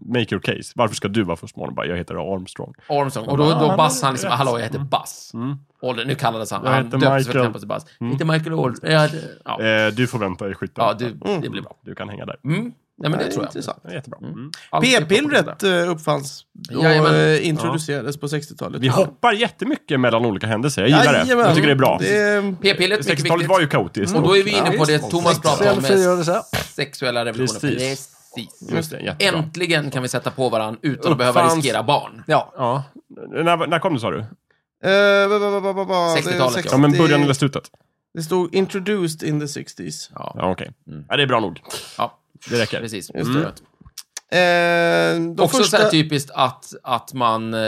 Speaker 4: make your case? Varför ska du vara först på morgonen? Bara, Jag heter Armstrong.
Speaker 2: Armstrong. Och då,
Speaker 4: Ja,
Speaker 2: då
Speaker 4: men-
Speaker 2: Buzz, han liksom, hallå, jag heter Buzz.
Speaker 4: Mm.
Speaker 2: Ålder, nu kallades han,
Speaker 4: Jag
Speaker 2: han
Speaker 4: heter
Speaker 2: döptes för
Speaker 4: Michael. Mm.
Speaker 2: tempot till Buzz. Inte Michael Old. Ja, det- ja.
Speaker 4: Eh, du får vänta i skytten.
Speaker 2: ja du, det blir bra.
Speaker 4: Du kan hänga där.
Speaker 2: Mm. Nej, men det tror jag.
Speaker 1: Intressant.
Speaker 4: Det är jättebra. Mm.
Speaker 2: Allt är
Speaker 1: P-pillret eh, uppfanns och
Speaker 2: Jajamän.
Speaker 1: eh, introducerades på 60-talet.
Speaker 4: Vi hoppar jättemycket mellan olika händelser. Jag gillar det.
Speaker 1: Jajamän.
Speaker 4: Jag tycker det är bra.
Speaker 1: Det- eh,
Speaker 2: P-pillret, mycket
Speaker 4: 60-talet
Speaker 2: viktigt.
Speaker 4: var ju kaotiskt.
Speaker 2: Och då är vi inne på det
Speaker 1: visst.
Speaker 2: Thomas pratade om
Speaker 3: Sexuell
Speaker 2: med
Speaker 3: frigörelse.
Speaker 2: sexuella revolutionen.
Speaker 4: Precis. Just det, jättebra.
Speaker 2: Äntligen kan vi sätta på varandra utan att behöva
Speaker 4: Uppfanns-
Speaker 2: riskera barn.
Speaker 3: Ja,
Speaker 4: Ja. När, när kom det sa du?
Speaker 1: eh, va- va- va- va- va- va- det är
Speaker 2: 60-talet, ja.
Speaker 1: 60
Speaker 4: Ja, men början eller slutet?
Speaker 1: Det stod introduced in the 60s.
Speaker 2: Ja,
Speaker 4: Ja, okej. Ja, det är bra nog.
Speaker 2: ja.
Speaker 4: Mm. Det räcker.
Speaker 2: precis.
Speaker 1: Just
Speaker 2: Mm.
Speaker 1: det. Eh, de
Speaker 2: Också typ-
Speaker 1: första...
Speaker 2: så här typiskt att, att man eh,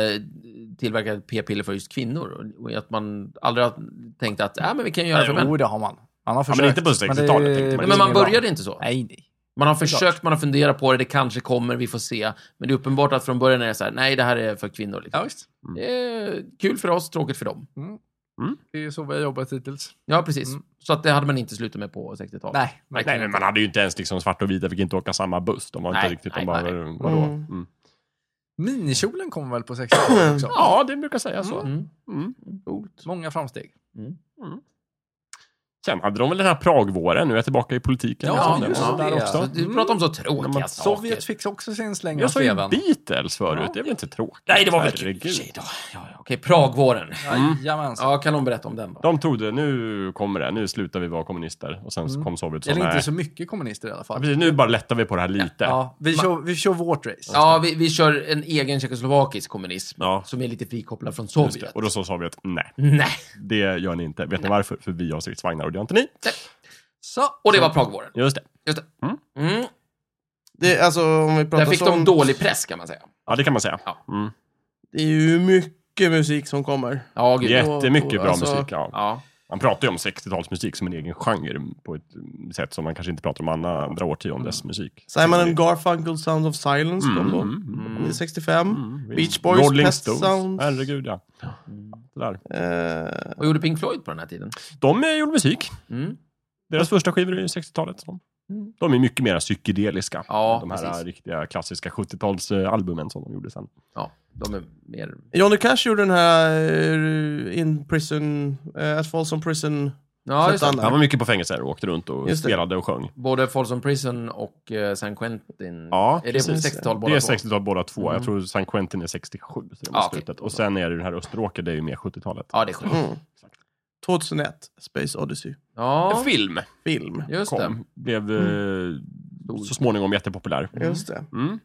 Speaker 2: tillverkar p-piller för just kvinnor. Och att man aldrig har tänkt att äh, men vi kan göra det för män.
Speaker 3: jo, Alltså, oh, det har man. Man har
Speaker 4: men
Speaker 3: försökt.
Speaker 4: inte på 60-talet,
Speaker 3: det-
Speaker 4: tänkte man.
Speaker 2: Nej, men man
Speaker 3: ingen
Speaker 2: började
Speaker 3: bra.
Speaker 2: inte så.
Speaker 3: Nej, nej.
Speaker 2: Man har försökt, man har funderat på det, det kanske kommer, vi får se. Men det är uppenbart att från början är det så här, nej, det här är för kvinnor. Liksom.
Speaker 3: Ja, visst.
Speaker 2: Det är kul för oss, tråkigt för dem.
Speaker 3: Det är så vi har jobbat hittills.
Speaker 2: Ja, precis. Så att det hade man inte slutat med på 60-talet.
Speaker 3: Nej,
Speaker 4: Nej,
Speaker 3: verkligen
Speaker 4: men man hade ju inte ens liksom svart och vita, fick inte åka samma buss. De var inte
Speaker 2: Nej,
Speaker 4: riktigt,
Speaker 2: nej,
Speaker 4: de bara,
Speaker 2: nej.
Speaker 4: vadå?
Speaker 1: Mm.
Speaker 4: Mm.
Speaker 3: Minikjolen kom väl på 60-talet också?
Speaker 4: Ja, det brukar säga så.
Speaker 2: Mm.
Speaker 4: Mm.
Speaker 3: Många framsteg.
Speaker 4: Sen hade de väl den här Pragvåren, nu är jag tillbaka i politiken.
Speaker 3: Ja,
Speaker 4: Jag såg den
Speaker 3: just
Speaker 4: var
Speaker 3: det.
Speaker 4: Där också.
Speaker 3: Alltså,
Speaker 2: Du pratar om så tråkiga
Speaker 4: Men man-
Speaker 2: saker.
Speaker 3: Sovjet fick också sin släng av
Speaker 4: Jag sa ju
Speaker 3: sleven.
Speaker 4: Beatles förut, det är väl inte tråkigt?
Speaker 2: Nej, det var väl kul i och för
Speaker 4: Herregud.
Speaker 2: sig då. Ja, ja, Okej, Pragvåren.
Speaker 3: Jajamensan.
Speaker 2: Ja, kan någon berätta om den då?
Speaker 4: De trodde, nu kommer det, nu slutar vi vara kommunister. Och sen
Speaker 2: Mm.
Speaker 4: kom Sovjet och sa
Speaker 3: Eller inte
Speaker 4: nej.
Speaker 3: så mycket kommunister i alla
Speaker 4: Ja,
Speaker 3: fall.
Speaker 4: precis, nu bara lättar vi på det här lite.
Speaker 3: Ja, vi, kör, vi kör vårt race.
Speaker 2: Ja, vi, vi kör en egen tjeckoslovakisk kommunism
Speaker 4: Ja.
Speaker 2: som är lite frikopplad från
Speaker 4: Just det.
Speaker 2: Sovjet.
Speaker 4: Och då sa Sovjet, nej,
Speaker 2: Nej.
Speaker 4: det gör ni inte. Vet ni varför? För vi har stridsvagnar och det har inte ni.
Speaker 3: Så,
Speaker 2: Och det var Pragvåren.
Speaker 4: Just det.
Speaker 2: Just det. Mm.
Speaker 1: Det, alltså, om vi pratar
Speaker 2: Där fick
Speaker 1: sånt,
Speaker 2: de dålig press kan man säga.
Speaker 4: Ja, det kan man säga.
Speaker 2: Ja.
Speaker 4: Mm.
Speaker 1: Det är ju mycket musik som kommer.
Speaker 2: Ja, gud.
Speaker 4: Jättemycket
Speaker 1: och-
Speaker 4: bra
Speaker 1: alltså-
Speaker 4: musik. Ja.
Speaker 2: Ja.
Speaker 4: Man pratar ju om 60-talsmusik som en egen genre på ett mm, sätt som man kanske inte pratar om andra, andra årtiondens musik.
Speaker 1: Simon
Speaker 4: Så det-
Speaker 1: and Garfunkel Sounds of Silence kom då. Det
Speaker 4: Mm.
Speaker 1: är 65. Mm,
Speaker 2: Mm.
Speaker 1: Beach Boys,
Speaker 4: Rolling
Speaker 1: Pet
Speaker 4: Stones.
Speaker 1: Sounds.
Speaker 4: Herregud, ja. Det där.
Speaker 1: Eh,
Speaker 2: Och gjorde Pink Floyd på den här tiden?
Speaker 4: De eh, gjorde musik.
Speaker 2: Mm.
Speaker 4: Deras första skivor är ju 60-talet. så. De är mycket mer psykedeliska.
Speaker 2: Ja,
Speaker 4: de här
Speaker 2: precis.
Speaker 4: eh, riktiga klassiska 70-talsalbumen som de gjorde sen.
Speaker 2: Ja, de är mer...
Speaker 1: Johnny Cash gjorde den här eh, In Prison, eh, At Folsom Prison.
Speaker 2: Ja, just
Speaker 1: Sätt
Speaker 2: det.
Speaker 1: alla.
Speaker 4: Han var mycket på fängelser och åkte runt och
Speaker 1: Just det.
Speaker 4: spelade och sjöng.
Speaker 2: Både Folsom Prison och eh, San Quentin.
Speaker 4: Ja,
Speaker 2: är det
Speaker 4: precis.
Speaker 2: på 60-tal båda
Speaker 4: Det är
Speaker 2: två?
Speaker 4: 60-tal båda två. Jag tror San Quentin är 67. Så det var
Speaker 2: Ja, okej.
Speaker 4: slutet. Och sen är det den här Österåker, det är ju mer 70-talet.
Speaker 2: Ja, det är sjukt.
Speaker 1: Mm. 2001, Space Odyssey.
Speaker 2: Ja,
Speaker 4: En film
Speaker 1: Film.
Speaker 2: just det.
Speaker 4: kom. Blev eh, så småningom jättepopulär.
Speaker 1: Just det.
Speaker 4: Mm.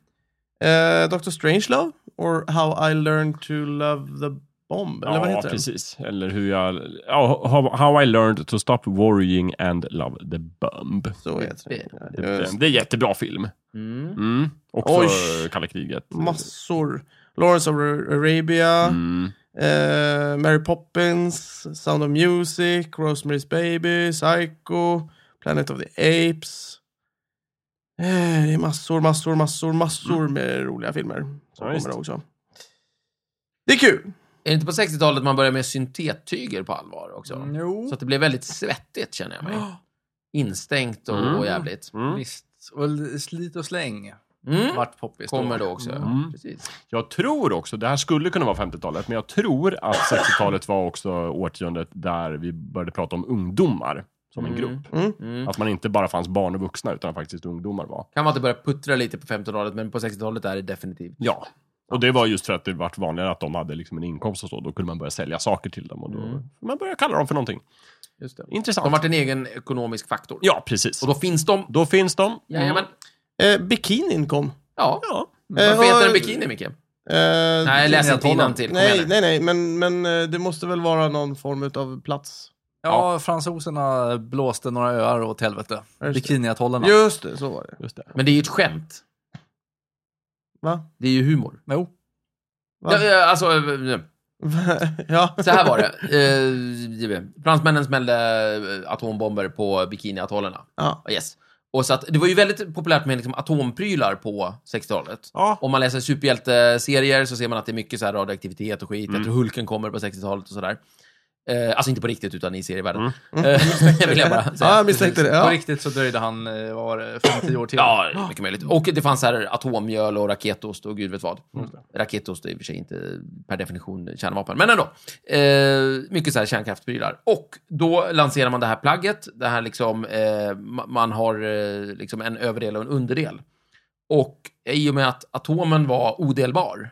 Speaker 1: Eh, Dr. Strangelove, or How I Learned to Love the Bomb. Eller vad
Speaker 4: ja,
Speaker 1: heter den?
Speaker 4: precis. Eller hur jag... ja, How, how I learned to stop worrying and love the bomb.
Speaker 1: Så heter
Speaker 2: Det-
Speaker 1: den.
Speaker 4: Det
Speaker 1: Ja,
Speaker 4: är
Speaker 1: just
Speaker 4: en jättebra film.
Speaker 2: Mm.
Speaker 4: Mm. Också
Speaker 1: Oj.
Speaker 4: kalla kriget.
Speaker 1: Massor. Lawrence of Arabia,
Speaker 4: Mm.
Speaker 1: eh, Mary Poppins, Sound of Music, Rosemary's Baby, Psycho, Planet of the Apes. Eh, det är massor, massor, massor, massor
Speaker 2: Mm.
Speaker 1: med roliga filmer som
Speaker 4: Ja, visst.
Speaker 1: kommer också. Det är kul.
Speaker 2: Är det inte på 60-talet man började med syntettyger på allvar också?
Speaker 1: Mm.
Speaker 3: jo.
Speaker 2: Så att det blev väldigt svettigt känner jag mig. Instängt och,
Speaker 4: Mm.
Speaker 2: och jävligt.
Speaker 4: Mm.
Speaker 3: Visst. Och l- slit och släng
Speaker 2: Mm.
Speaker 3: vart poppis.
Speaker 2: Kommer då också.
Speaker 3: Mm.
Speaker 2: ja. Precis.
Speaker 4: Jag tror också, det här skulle kunna vara 50-talet, men jag tror att 60-talet var också årtiondet där vi började prata om ungdomar som en
Speaker 2: Mm.
Speaker 4: grupp.
Speaker 2: Mm.
Speaker 4: Att man inte bara fanns barn och vuxna, utan faktiskt ungdomar var.
Speaker 2: Kan vara att det börjar puttra lite på 50-talet, men på 60-talet är det definitivt.
Speaker 4: Ja. Och det var just för att det vart vanligare att de hade liksom en inkomst och så. Då kunde man börja sälja saker till dem och då man började kalla dem för någonting.
Speaker 2: Just det.
Speaker 4: Intressant.
Speaker 2: Mm. De vart en egen ekonomisk faktor.
Speaker 4: Ja, precis.
Speaker 2: Och
Speaker 4: då...
Speaker 2: då finns de.
Speaker 4: finns de.
Speaker 2: Jajamän.
Speaker 1: Eh, bikinin kom.
Speaker 2: Ja.
Speaker 4: Ja.
Speaker 1: Eh,
Speaker 2: Varför
Speaker 1: och-
Speaker 2: heter den bikini, Micke?
Speaker 1: Eh,
Speaker 2: Nej, läs inte innantill. Kom igen
Speaker 1: Nej,
Speaker 2: nu.
Speaker 1: nej, nej, men, men eh, det måste väl vara någon form av plats.
Speaker 3: Ja, fransoserna blåste några öar åt helvete.
Speaker 1: Just det.
Speaker 3: Bikiniatollerna.
Speaker 1: Just det, så var det.
Speaker 4: Just det.
Speaker 2: Men det är ju ett skämt.
Speaker 1: Va? [LAUGHS]
Speaker 2: Det är ju humor.
Speaker 3: Jo.
Speaker 1: Va?
Speaker 2: Ja, ja, Alltså, eh,
Speaker 1: ja.
Speaker 2: så här var det. Eh, Fransmännen smällde eh, atombomber på bikiniatollerna. Ah,
Speaker 1: Ja.
Speaker 2: Yes. Och så att, det var ju väldigt populärt med liksom atomprylar på 60-talet.
Speaker 4: Ja.
Speaker 2: Om man läser superhjälteserier så ser man att det är mycket så här radioaktivitet och skit.
Speaker 1: Mm.
Speaker 2: Jag tror Hulken kommer på 60-talet och sådär. Eh, alltså inte på riktigt, utan i serievärlden. Eh, [LAUGHS] vill jag bara säga.
Speaker 1: Mm. ja, jag misstänkte det.
Speaker 3: På
Speaker 1: Ja.
Speaker 3: riktigt så dröjde han, eh, vad var det, 50
Speaker 4: Typ.
Speaker 3: år till.
Speaker 2: Ja,
Speaker 4: Ah.
Speaker 2: det är mycket möjligt. Och det fanns här atommjöl och raketost och gud vet vad. Raketost är i och för sig inte per definition kärnvapen, men ändå. Eh, mycket så här kärnkraftsprylar. Och då lanserar man det här plagget. Det här liksom, eh, ma- man har eh, liksom en överdel och en underdel. Och i och med att atomen var odelbar,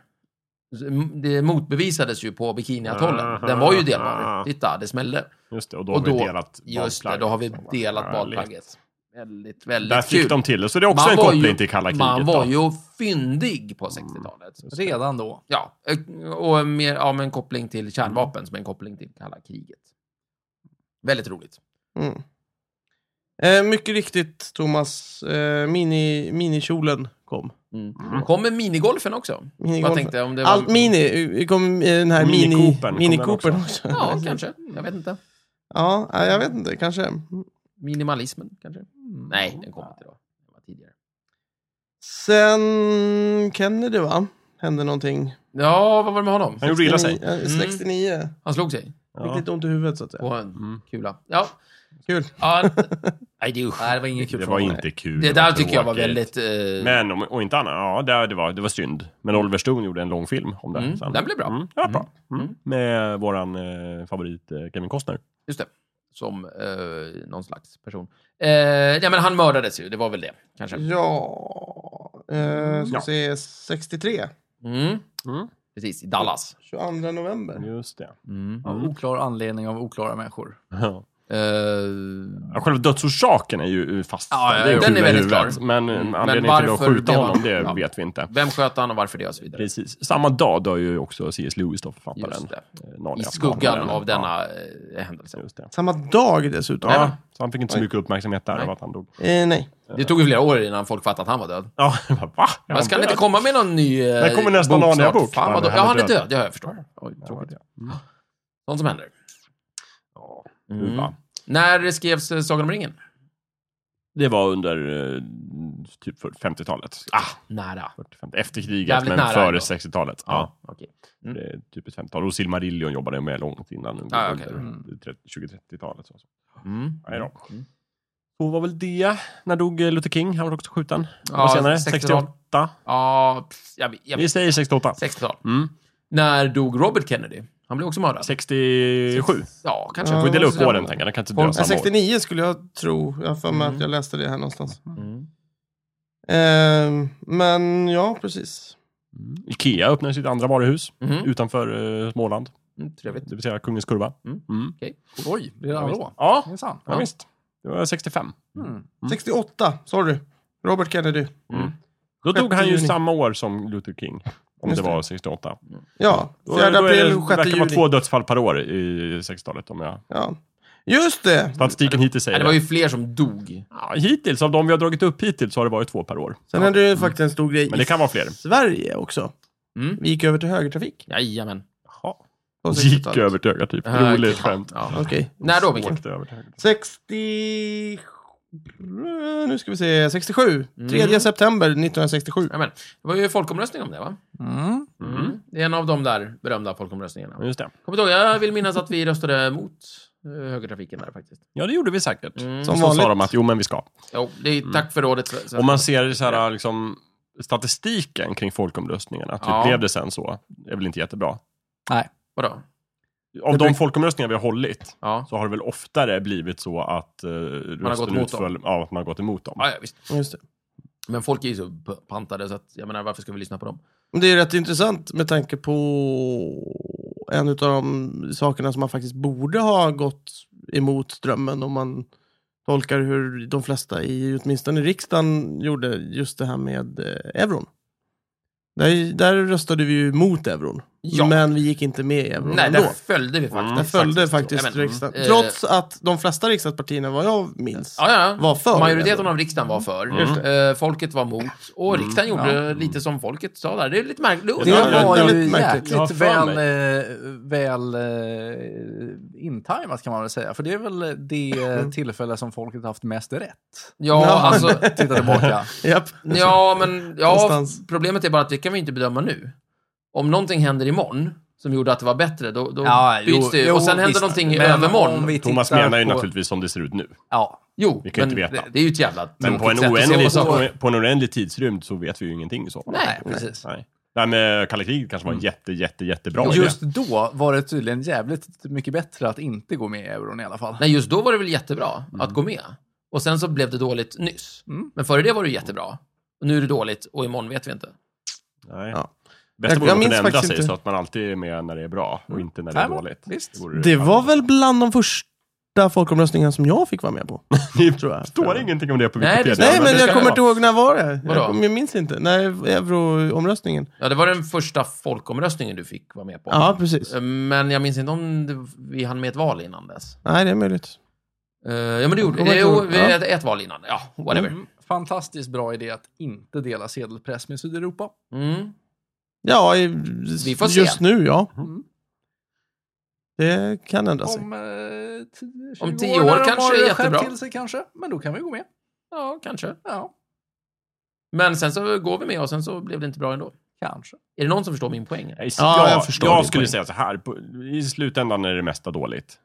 Speaker 2: det motbevisades ju på Bikiniatollen. Den var ju delbar. Titta, det smällde.
Speaker 4: Just det, och då
Speaker 2: Och
Speaker 4: har vi
Speaker 2: då-
Speaker 4: delat
Speaker 2: Just det,
Speaker 4: badplagg.
Speaker 2: då har vi
Speaker 4: Fan, vad
Speaker 2: delat
Speaker 4: härligt.
Speaker 2: badplagget. Väldigt, väldigt
Speaker 4: Där
Speaker 2: kul.
Speaker 4: fick de till det, så det är också en
Speaker 2: var
Speaker 4: koppling
Speaker 2: ju-
Speaker 4: till kalla kriget.
Speaker 2: Man var
Speaker 4: då. Mm,
Speaker 2: ju fyndig på 60-talet.
Speaker 3: Redan då.
Speaker 2: Ja, eh, och mer, ja, med en koppling till kärnvapen som en koppling till kalla kriget. Väldigt roligt.
Speaker 1: Mm. Eh, mycket riktigt, Thomas. Eh, mini, minikjolen kom.
Speaker 2: Mm. Kommer minigolfen också? Jag
Speaker 1: Minigolfen.
Speaker 2: tänkte om det var...
Speaker 1: Allt mini. eh, kom eh, den här mini,
Speaker 4: Mini-Coopern kom
Speaker 1: mini
Speaker 4: den
Speaker 1: Coopern också.
Speaker 4: också.
Speaker 2: Ja, kanske. Jag vet inte.
Speaker 1: [LAUGHS] Ja, eh, jag vet inte. Kanske.
Speaker 2: Minimalismen, kanske?
Speaker 4: Mm.
Speaker 2: Nej, den kom inte då. Den var tidigare.
Speaker 1: Sen Kennedy, va? Hände någonting.
Speaker 2: Ja, vad var det med honom?
Speaker 4: Han gjorde illa sig. Mm.
Speaker 1: 69, eh, 69.
Speaker 2: Han slog sig
Speaker 1: Fick
Speaker 4: Ja.
Speaker 1: lite ont i huvudet, så att säga.
Speaker 2: på en
Speaker 4: Mm.
Speaker 2: kula. Ja.
Speaker 1: Kul.
Speaker 2: ja.
Speaker 1: [LAUGHS]
Speaker 2: Nej, det, usch. Nej, det var inget
Speaker 4: Det var inte kul.
Speaker 2: Det där tycker jag var
Speaker 4: tråkigt.
Speaker 2: väldigt... eh,
Speaker 4: Men om, och inte annat, ja det, det, var, det var synd. Men Oliver Stone gjorde en lång film om det.
Speaker 2: Mm,
Speaker 4: sen.
Speaker 2: den blev bra.
Speaker 4: Mm, ja, bra. Mm.
Speaker 2: Mm.
Speaker 4: Med våran eh, favorit eh, Kevin Costner.
Speaker 2: Just det. Som eh, någon slags person. Eh, nej, men han mördades ju. Det var väl det, kanske.
Speaker 4: Mm.
Speaker 1: Ja, eh, ska
Speaker 4: Ja.
Speaker 1: se, 63.
Speaker 2: Mm.
Speaker 4: Mm.
Speaker 2: Precis, i Dallas.
Speaker 1: 22 november.
Speaker 4: Just det.
Speaker 2: Mm.
Speaker 3: Av oklar anledning av oklara människor.
Speaker 4: Ja.
Speaker 2: Eh,
Speaker 4: Ja, Själva dödsorsaken är ju eh, fast.
Speaker 2: Ja, ja,
Speaker 4: det är
Speaker 2: ja,
Speaker 4: skjuta
Speaker 2: den är
Speaker 4: i
Speaker 2: väldigt
Speaker 4: huvudet.
Speaker 2: klar.
Speaker 4: Men eh,
Speaker 2: Mm.
Speaker 4: anledningen
Speaker 2: Men
Speaker 4: till att
Speaker 2: varför
Speaker 4: skjuta
Speaker 2: det var-
Speaker 4: honom, det
Speaker 2: Ja.
Speaker 4: vet vi inte.
Speaker 2: vem sköt han och varför det och så vidare.
Speaker 4: Precis. Samma dag dör ju också C.S. Lewis då, författaren.
Speaker 2: Just det.
Speaker 4: eh,
Speaker 2: I
Speaker 4: Narnia.
Speaker 2: skuggan
Speaker 4: Ja,
Speaker 2: av denna eh, händelse.
Speaker 4: Just det.
Speaker 1: Samma dag dessutom.
Speaker 4: Ja, så han fick inte så
Speaker 1: Oj.
Speaker 4: mycket uppmärksamhet där
Speaker 2: Nej.
Speaker 4: av att han dog.
Speaker 1: Eh, nej.
Speaker 2: Det tog ju flera år innan folk fattade att han var död.
Speaker 4: Ja, [LAUGHS] jag bara, va? Är
Speaker 2: Men ska han
Speaker 4: död?
Speaker 2: inte komma med någon ny eh,
Speaker 4: Där kommer nästa
Speaker 2: bok
Speaker 4: Narnia-bok.
Speaker 2: snart? Fan,
Speaker 4: Ja,
Speaker 2: vad död.
Speaker 4: men
Speaker 2: Ja,
Speaker 4: han
Speaker 2: han
Speaker 4: är
Speaker 2: är
Speaker 4: död.
Speaker 2: död. Ja, jag förstår. Oj, tråkigt.
Speaker 4: Mm.
Speaker 2: Sånt som händer.
Speaker 4: Ja,
Speaker 2: Mm.
Speaker 4: nu va.
Speaker 2: När skrevs eh, Sagan om ringen?
Speaker 4: Det var under eh, typ 50-talet.
Speaker 2: Ah, nära.
Speaker 4: 40-50. Efter kriget,
Speaker 2: Jävligt
Speaker 4: men
Speaker 2: nära
Speaker 4: före
Speaker 2: ändå.
Speaker 4: 60-talet. Ja.
Speaker 2: Ja, okej. Mm.
Speaker 4: Det är typ ett 50-tal. Och Silmarillion jobbade jag med långt innan. Under,
Speaker 2: Ah, okej.
Speaker 4: under 30 20-30-talet. Så.
Speaker 2: Mm.
Speaker 4: Nej då.
Speaker 2: Mm.
Speaker 4: Så var väl det. När dog eh, Luther King? Han var också skjuten.
Speaker 2: Ja,
Speaker 4: Ja, senare.
Speaker 2: 60-tal.
Speaker 4: 68.
Speaker 2: Ja, pff, jag, vet- jag,
Speaker 4: Vi
Speaker 2: vet.
Speaker 4: säger 68.
Speaker 2: 60-tal.
Speaker 4: Mm.
Speaker 2: När dog Robert Kennedy? Han blev också mördad.
Speaker 4: 67.
Speaker 2: Ja, kanske.
Speaker 1: Ja,
Speaker 4: Får vi dela
Speaker 1: det
Speaker 4: upp
Speaker 1: måste
Speaker 4: åren,
Speaker 1: jag-
Speaker 4: tänker jag. Den kan inte
Speaker 1: Folk,
Speaker 4: dö
Speaker 1: eh,
Speaker 4: samma Mm. år.
Speaker 1: 69 skulle jag tro. Jag har för mig att jag läste det här någonstans.
Speaker 2: Mm.
Speaker 1: Eh, men ja, precis.
Speaker 4: Mm. Ikea öppnade sitt andra varuhus
Speaker 2: Mhm.
Speaker 4: utanför eh, Småland.
Speaker 2: Mm, trevligt.
Speaker 4: Det vill säga Kungens Kurva.
Speaker 2: Mm.
Speaker 4: Mm.
Speaker 3: Oj, redan
Speaker 4: visst.
Speaker 3: då?
Speaker 4: Ja,
Speaker 3: Minsann.
Speaker 4: ja, visst. Det var 65.
Speaker 3: Mm.
Speaker 1: 68, sorry. Robert Kennedy.
Speaker 4: Då dog han ju
Speaker 1: juni.
Speaker 4: samma år som Luther King. Om
Speaker 1: Just
Speaker 4: det var 68.
Speaker 1: Ja,
Speaker 4: Då,
Speaker 1: 4
Speaker 4: då är det-
Speaker 1: april,
Speaker 4: det
Speaker 1: 6
Speaker 4: verkar vara
Speaker 1: juli.
Speaker 4: två dödsfall per år i 60-talet. Om jag...
Speaker 1: Ja. Just det!
Speaker 4: Statistiken hittills säger
Speaker 2: Nej, det var ju fler som dog.
Speaker 4: Ja, hittills, av de vi har dragit upp hittills, så har det varit två per år.
Speaker 1: Sen hade det faktiskt en stor grej
Speaker 4: Men det kan vara fler.
Speaker 1: i Sverige också.
Speaker 2: Mm.
Speaker 1: Vi gick över till högertrafik.
Speaker 2: Jajamän.
Speaker 4: Jaha.
Speaker 1: på
Speaker 4: Gick
Speaker 1: 60-talet.
Speaker 4: över till öga, typ. Roligt skämt.
Speaker 2: Ja.
Speaker 1: Okej.
Speaker 2: När då, Micke?
Speaker 4: Åkte över till öga.
Speaker 1: 60... Nu ska vi se, 67. 3
Speaker 2: Mm.
Speaker 1: september 1967.
Speaker 2: Jajamän. Det var ju folkomröstning om det, va?
Speaker 3: Mm.
Speaker 4: Mm.
Speaker 2: Det är en av de där berömda folkomröstningarna.
Speaker 4: Ja, Just det.
Speaker 2: Kommer du ihåg, jag vill minnas att vi röstade mot eh, högertrafiken där faktiskt.
Speaker 4: Ja, det gjorde vi säkert.
Speaker 2: Mm.
Speaker 1: Som
Speaker 4: Så sa
Speaker 1: vanligt.
Speaker 4: de att, jo men vi ska.
Speaker 2: Jo, det är tack för rådet. Sven- Sven.
Speaker 4: Om man ser så här, liksom, statistiken kring folkomröstningarna, typ
Speaker 2: Ja.
Speaker 4: blev det sen så? är väl inte jättebra.
Speaker 2: Vadå?
Speaker 4: Av
Speaker 1: Det
Speaker 4: de
Speaker 1: bruk-
Speaker 4: folkomröstningar vi har hållit,
Speaker 2: Ja.
Speaker 4: så har det väl oftare blivit så att eh, rösten
Speaker 2: gått emot
Speaker 4: utföll, ja, att man har gått emot dem.
Speaker 2: Ja, ja, visst.
Speaker 1: Just det.
Speaker 2: Men folk är ju så p- pantade så att, jag menar, varför ska vi lyssna på dem?
Speaker 1: Men Det är rätt intressant med tanke på en av de sakerna som man faktiskt borde ha gått emot strömmen om man tolkar hur de flesta i åtminstone riksdagen gjorde just det här med eh, euron. Där, där röstade vi ju mot euron,
Speaker 2: Ja.
Speaker 1: men vi gick inte med i euron
Speaker 2: Nej,
Speaker 1: Mm. ändå.
Speaker 2: där följde vi faktiskt.
Speaker 1: Där följde faktiskt
Speaker 2: Ja, men,
Speaker 1: riksdagen.
Speaker 2: mm, eh,
Speaker 1: Trots att de flesta riksdagspartierna, vad jag minns,
Speaker 2: Ja, ja.
Speaker 1: var för.
Speaker 2: Majoriteten
Speaker 1: euron.
Speaker 2: av riksdagen var för,
Speaker 4: Just
Speaker 2: eh, folket var mot och riksdagen gjorde lite som folket sa där. Det är lite märkligt.
Speaker 4: Det
Speaker 3: Det
Speaker 4: är
Speaker 3: var ju
Speaker 1: väldigt märkligt.
Speaker 4: Jag har
Speaker 3: jäkligt
Speaker 4: för
Speaker 3: väl, eh, väl eh, intajmat kan man väl säga. För det är väl det tillfälle som folket haft mest rätt.
Speaker 2: Ja,
Speaker 1: Ja.
Speaker 2: [LAUGHS] alltså.
Speaker 3: Titta tillbaka.
Speaker 1: Japp.
Speaker 2: Ja, men ja,
Speaker 1: Någonstans.
Speaker 2: problemet är bara att det kan vi inte bedöma nu. Om någonting händer imorgon som gjorde att det var bättre, då, då byts det ju. Och sen händer
Speaker 3: visst.
Speaker 2: någonting i
Speaker 3: Men
Speaker 2: övermorgon.
Speaker 3: om vi
Speaker 4: Thomas
Speaker 3: tittar
Speaker 4: menar ju
Speaker 3: på-
Speaker 4: naturligtvis som det ser ut nu.
Speaker 3: Ja,
Speaker 2: Jo,
Speaker 4: Vi kan ju
Speaker 2: men
Speaker 4: inte veta.
Speaker 2: Det, det är ju ett jävla
Speaker 4: Men på en,
Speaker 2: tråkigt sätt att se
Speaker 4: oändlig,
Speaker 2: på saker.
Speaker 4: på en oändlig tidsrymd så vet vi ju ingenting i så fall.
Speaker 2: Nej, precis.
Speaker 4: Nej. Nej, men kalla kriget kanske
Speaker 1: Mm.
Speaker 4: var en jätte, jätte, jättebra idé.
Speaker 3: Just då var det tydligen jävligt mycket bättre att inte gå med i euron i alla fall.
Speaker 2: Nej, just
Speaker 1: Mm.
Speaker 2: då var det väl jättebra att gå med. Och sen så blev det dåligt nyss.
Speaker 3: Mm.
Speaker 2: Men före det var det jättebra. Och nu är det dåligt och imorgon vet vi inte.
Speaker 4: Nej.
Speaker 1: Ja.
Speaker 4: Bästa
Speaker 1: Jag-
Speaker 4: vore
Speaker 1: jag
Speaker 4: om man
Speaker 1: minns
Speaker 4: kunde ändra
Speaker 1: faktiskt
Speaker 4: sig
Speaker 1: inte.
Speaker 4: så att man alltid är med när det är bra och inte när det är
Speaker 3: Nej, men,
Speaker 4: dåligt.
Speaker 3: visst.
Speaker 4: vore
Speaker 1: Det var
Speaker 4: allra
Speaker 1: väl bland de första folkomröstningarna som jag fick vara
Speaker 2: [LAUGHS]
Speaker 1: med på.
Speaker 4: Det
Speaker 1: tror jag.
Speaker 4: står ingenting om det på
Speaker 2: Nej, det-
Speaker 4: Wikipedia.
Speaker 2: Ja,
Speaker 1: Nej,
Speaker 2: men
Speaker 1: men
Speaker 2: det
Speaker 1: jag
Speaker 2: ska
Speaker 1: kommer
Speaker 2: vara.
Speaker 1: inte ihåg när var det.
Speaker 2: Vadå?
Speaker 1: Jag, kom, jag minns inte. När euroomröstningen.
Speaker 2: Ja, det var den första folkomröstningen du fick vara med på.
Speaker 1: Ja, precis.
Speaker 2: Men jag minns inte om det, vi hann med ett val innan dess.
Speaker 1: Nej, det är möjligt.
Speaker 2: Eh, ja, men det gjorde
Speaker 1: Jag kommer
Speaker 2: vi.
Speaker 1: inte
Speaker 2: Jo,
Speaker 1: ihåg.
Speaker 2: vi
Speaker 1: Ja.
Speaker 2: ett, ett val innan. Ja, whatever.
Speaker 3: Mm. Fantastiskt bra idé att inte dela sedelpress med Sydeuropa.
Speaker 2: Mm.
Speaker 1: Ja, i,
Speaker 2: Vi får se.
Speaker 1: just nu ja.
Speaker 3: Mm.
Speaker 1: Det kan ändra sig.
Speaker 3: Om eh, 10, 20
Speaker 2: Om 10 år
Speaker 3: när de
Speaker 2: kanske
Speaker 3: har
Speaker 2: är
Speaker 3: skärpt
Speaker 2: jättebra.
Speaker 3: till sig kanske, men då kan vi gå med.
Speaker 2: Ja, kanske.
Speaker 3: Ja,
Speaker 2: Men sen så går vi med och sen så blev det inte bra ändå.
Speaker 3: kanske.
Speaker 2: Är det någon som förstår min poäng?
Speaker 4: Nej,
Speaker 1: [LAUGHS]
Speaker 4: så-
Speaker 1: Ja,
Speaker 4: jag,
Speaker 1: jag förstår din
Speaker 4: jag skulle
Speaker 1: poäng.
Speaker 4: säga så här, på, i slutändan är det mesta dåligt.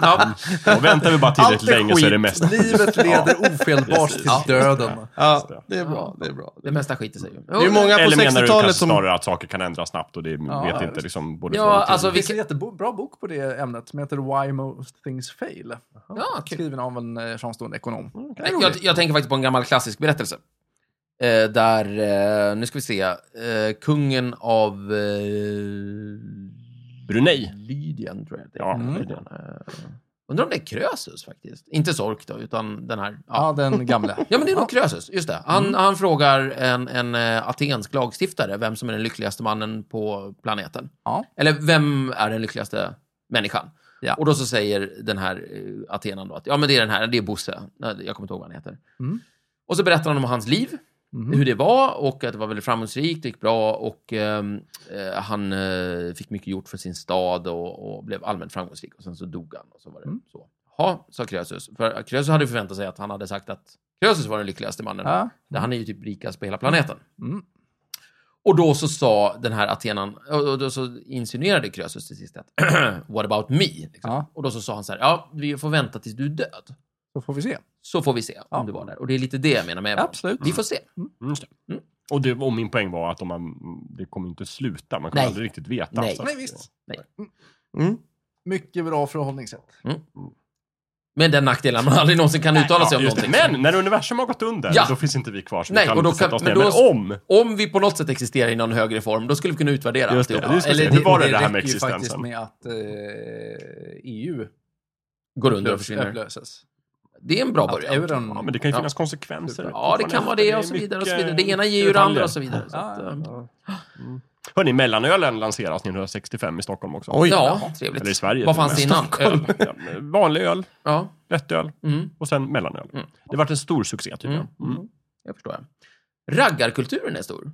Speaker 2: Ja.
Speaker 4: Och väntar vi bara tillräckligt
Speaker 3: Allt är
Speaker 4: länge så är det mesta
Speaker 2: [LAUGHS]
Speaker 3: Livet leder ofelbart
Speaker 4: Precis.
Speaker 3: till döden.
Speaker 1: Ja, det är
Speaker 2: Ja.
Speaker 1: bra. Det är bra.
Speaker 2: Det mesta skiter sig ju.
Speaker 1: Det är ju många på
Speaker 4: Eller menar du
Speaker 1: 60-talet
Speaker 4: kanske
Speaker 1: som...
Speaker 4: snarare att saker kan ändras snabbt och det
Speaker 3: Ja,
Speaker 4: vet
Speaker 3: ja,
Speaker 4: inte
Speaker 3: visst.
Speaker 4: liksom både från
Speaker 2: Ja,
Speaker 4: och till.
Speaker 2: alltså
Speaker 3: Det finns
Speaker 2: vilka...
Speaker 3: en jättebra bok på det ämnet som heter Why Most Things Fail.
Speaker 2: Ja, kul.
Speaker 3: Skriven av en eh, framstående ekonom.
Speaker 4: Mm,
Speaker 2: Nej, jag, jag tänker faktiskt på en gammal klassisk berättelse. Eh, där, eh, nu ska vi se, eh, kungen av eh,
Speaker 4: Brunei.
Speaker 2: Lydien tror jag det är.
Speaker 4: Ja,
Speaker 2: Mm.
Speaker 4: Lydien.
Speaker 2: Eh, Undrar om det är Krösus faktiskt. Inte Sork då, utan den här. Ja,
Speaker 3: Ja, den gamla.
Speaker 2: [LAUGHS] ja men det är nog Krösus. Just det. Han, han frågar en, en eh, atensk lagstiftare vem som är den lyckligaste mannen på planeten.
Speaker 3: Ja.
Speaker 2: Eller vem är den lyckligaste människan?
Speaker 3: Ja.
Speaker 2: Och då så säger den här eh, Athenan då att ja, men det är den här, det är Bosse. Nej, Jag kommer inte ihåg vad han heter.
Speaker 3: Mm.
Speaker 2: Och så berättar han om hans liv,
Speaker 3: Mhm.
Speaker 2: hur det var och att det var väldigt framgångsrikt, det gick bra och ehm, eh, han eh, fick mycket gjort för sin stad och, och blev allmänt framgångsrik. Och sen så dog han och så var det
Speaker 3: Mm.
Speaker 2: så. Jaha, sa Krösus. För eh, Krösus hade ju förväntat sig att han hade sagt att Krösus var den lyckligaste mannen.
Speaker 3: Ja.
Speaker 2: Han är ju typ rikast på hela planeten.
Speaker 3: Mm.
Speaker 2: Och då så sa den här Athenan, och då så insinuerade Krösus till sist att eh, “What about me?” liksom.
Speaker 3: Ja.
Speaker 2: Och då så sa han så här, ja, vi får vänta tills du är död.
Speaker 3: Då får vi se.
Speaker 2: Så får vi se
Speaker 3: Ja.
Speaker 2: om du var där. Och det är lite det jag menar med
Speaker 3: Absolut.
Speaker 2: Vi får se.
Speaker 4: Mm, just det.
Speaker 2: Mm.
Speaker 4: Och, det, och min poäng var att om man, det kommer inte sluta, man kommer
Speaker 2: Nej.
Speaker 4: aldrig riktigt veta. alltså.
Speaker 2: Nej.
Speaker 4: Så att-
Speaker 3: Nej, visst.
Speaker 1: Mm.
Speaker 3: Mycket bra förhållningssätt.
Speaker 2: Med den nackdelen, man aldrig någonsin kan uttala sig
Speaker 4: Ja,
Speaker 2: om
Speaker 4: just det.
Speaker 2: någonting.
Speaker 4: Men när universum har gått under,
Speaker 2: Ja.
Speaker 4: då finns inte vi kvar. Så
Speaker 2: Nej,
Speaker 4: vi kan
Speaker 2: och då
Speaker 4: inte sätta
Speaker 2: kan-
Speaker 4: oss
Speaker 2: men
Speaker 4: ner.
Speaker 2: då-
Speaker 4: Men om!
Speaker 2: Om vi på något sätt existerar i någon högre form, då skulle vi kunna utvärdera
Speaker 4: Just det,
Speaker 2: alltihop.
Speaker 4: det ska
Speaker 2: Eller
Speaker 4: vi se. Hur var det det här
Speaker 3: räcker
Speaker 4: med
Speaker 3: ju faktiskt
Speaker 4: existensen?
Speaker 3: med att eh, EU
Speaker 2: går under och försvinner.
Speaker 3: upplöses.
Speaker 2: Det är en bra
Speaker 3: Att
Speaker 2: början.
Speaker 3: euron...
Speaker 4: Ja, men det kan ju
Speaker 2: Ja.
Speaker 4: finnas konsekvenser.
Speaker 2: Ja, det kan vara det och så vidare. och så vidare. Det ena ger ju det andra och så vidare. Så att, eh,
Speaker 3: Ja,
Speaker 4: Hörni, mellanölen lanseras 1965 i Stockholm också.
Speaker 1: Oj.
Speaker 2: ja,
Speaker 4: Eller i
Speaker 2: trevligt.
Speaker 4: Sverige.
Speaker 2: Vad
Speaker 4: till och
Speaker 2: fanns
Speaker 4: med.
Speaker 2: innan? Öl.
Speaker 4: Ja, [LAUGHS] vanlig öl,
Speaker 2: Ja,
Speaker 4: lättöl
Speaker 2: mm,
Speaker 4: och sen mellanöl.
Speaker 2: Mm.
Speaker 4: Det vart en stor succé tydligen.
Speaker 2: Mm.
Speaker 4: Mm.
Speaker 2: jag förstår. Raggarkulturen är stor.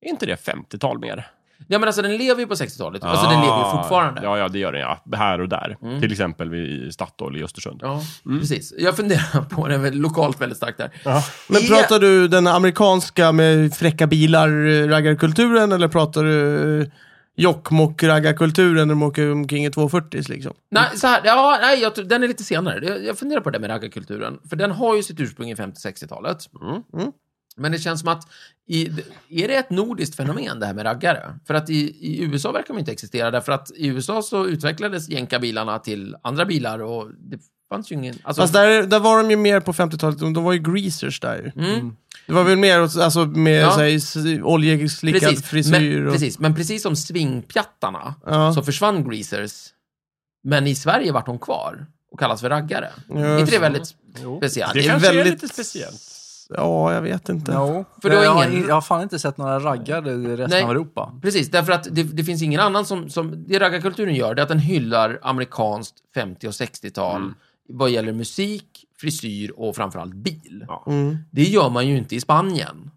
Speaker 4: Är inte det 50-tal mer?
Speaker 2: Ja, men alltså den lever ju på 60-talet. Alltså den lever ju
Speaker 4: Ah,
Speaker 2: fortfarande.
Speaker 4: Ja, ja, det gör den ja. Här och där.
Speaker 2: Mm.
Speaker 4: Till exempel vid- i Statoil i Östersund.
Speaker 2: Ja,
Speaker 1: Mm.
Speaker 2: precis. Jag funderar [LAUGHS] på den väldigt, lokalt väldigt starkt där.
Speaker 4: Ja.
Speaker 1: Men
Speaker 2: Ja.
Speaker 1: pratar du den amerikanska med fräcka bilar, eh, raggarkulturen, eller pratar du eh, Jokkmokk-raggarkulturen när de åker omkring i 240 liksom?
Speaker 2: Nej, så här, ja, nej jag, tror- den är lite senare. Jag, jag funderar på det med raggarkulturen. För den har ju sitt ursprung i 50-60-talet.
Speaker 4: Mm.
Speaker 1: Mm.
Speaker 2: Men det känns som att, i, är det ett nordiskt fenomen det här med raggare? För att i, i USA verkar de inte existera, därför att i USA så utvecklades jänkarbilarna till andra bilar och det fanns ju ingen... Alltså,
Speaker 1: Fast där, där var de ju mer på 50-talet, de de var ju greasers där ju.
Speaker 2: mm,
Speaker 1: Det var väl mer åt- alltså, med
Speaker 2: Ja.
Speaker 1: så här, s- oljeslickad
Speaker 2: precis,
Speaker 1: frisyr.
Speaker 2: men,
Speaker 1: och,
Speaker 2: precis, men precis som swingpjattarna
Speaker 1: Ja.
Speaker 2: så försvann greasers, men i Sverige vart de kvar och kallas för raggare.
Speaker 1: Ja,
Speaker 2: Är inte det
Speaker 1: så.
Speaker 2: väldigt
Speaker 4: Jo.
Speaker 2: speciellt?
Speaker 4: Det
Speaker 1: är
Speaker 4: kanske är
Speaker 1: väldigt-
Speaker 4: lite speciellt.
Speaker 1: Ja, jag vet inte.
Speaker 3: No.
Speaker 2: För du har
Speaker 3: jag, har
Speaker 2: ingen-
Speaker 3: in- jag har fan inte sett några raggar i resten
Speaker 2: Nej.
Speaker 3: av Europa.
Speaker 2: Precis, därför att det, det finns ingen annan som, som... Det raggarkulturen gör, det är att den hyllar amerikanskt 50 och 60-tal
Speaker 3: Mm.
Speaker 2: vad gäller musik, frisyr och framförallt bil.
Speaker 1: Mm.
Speaker 2: Det gör man ju inte i Spanien.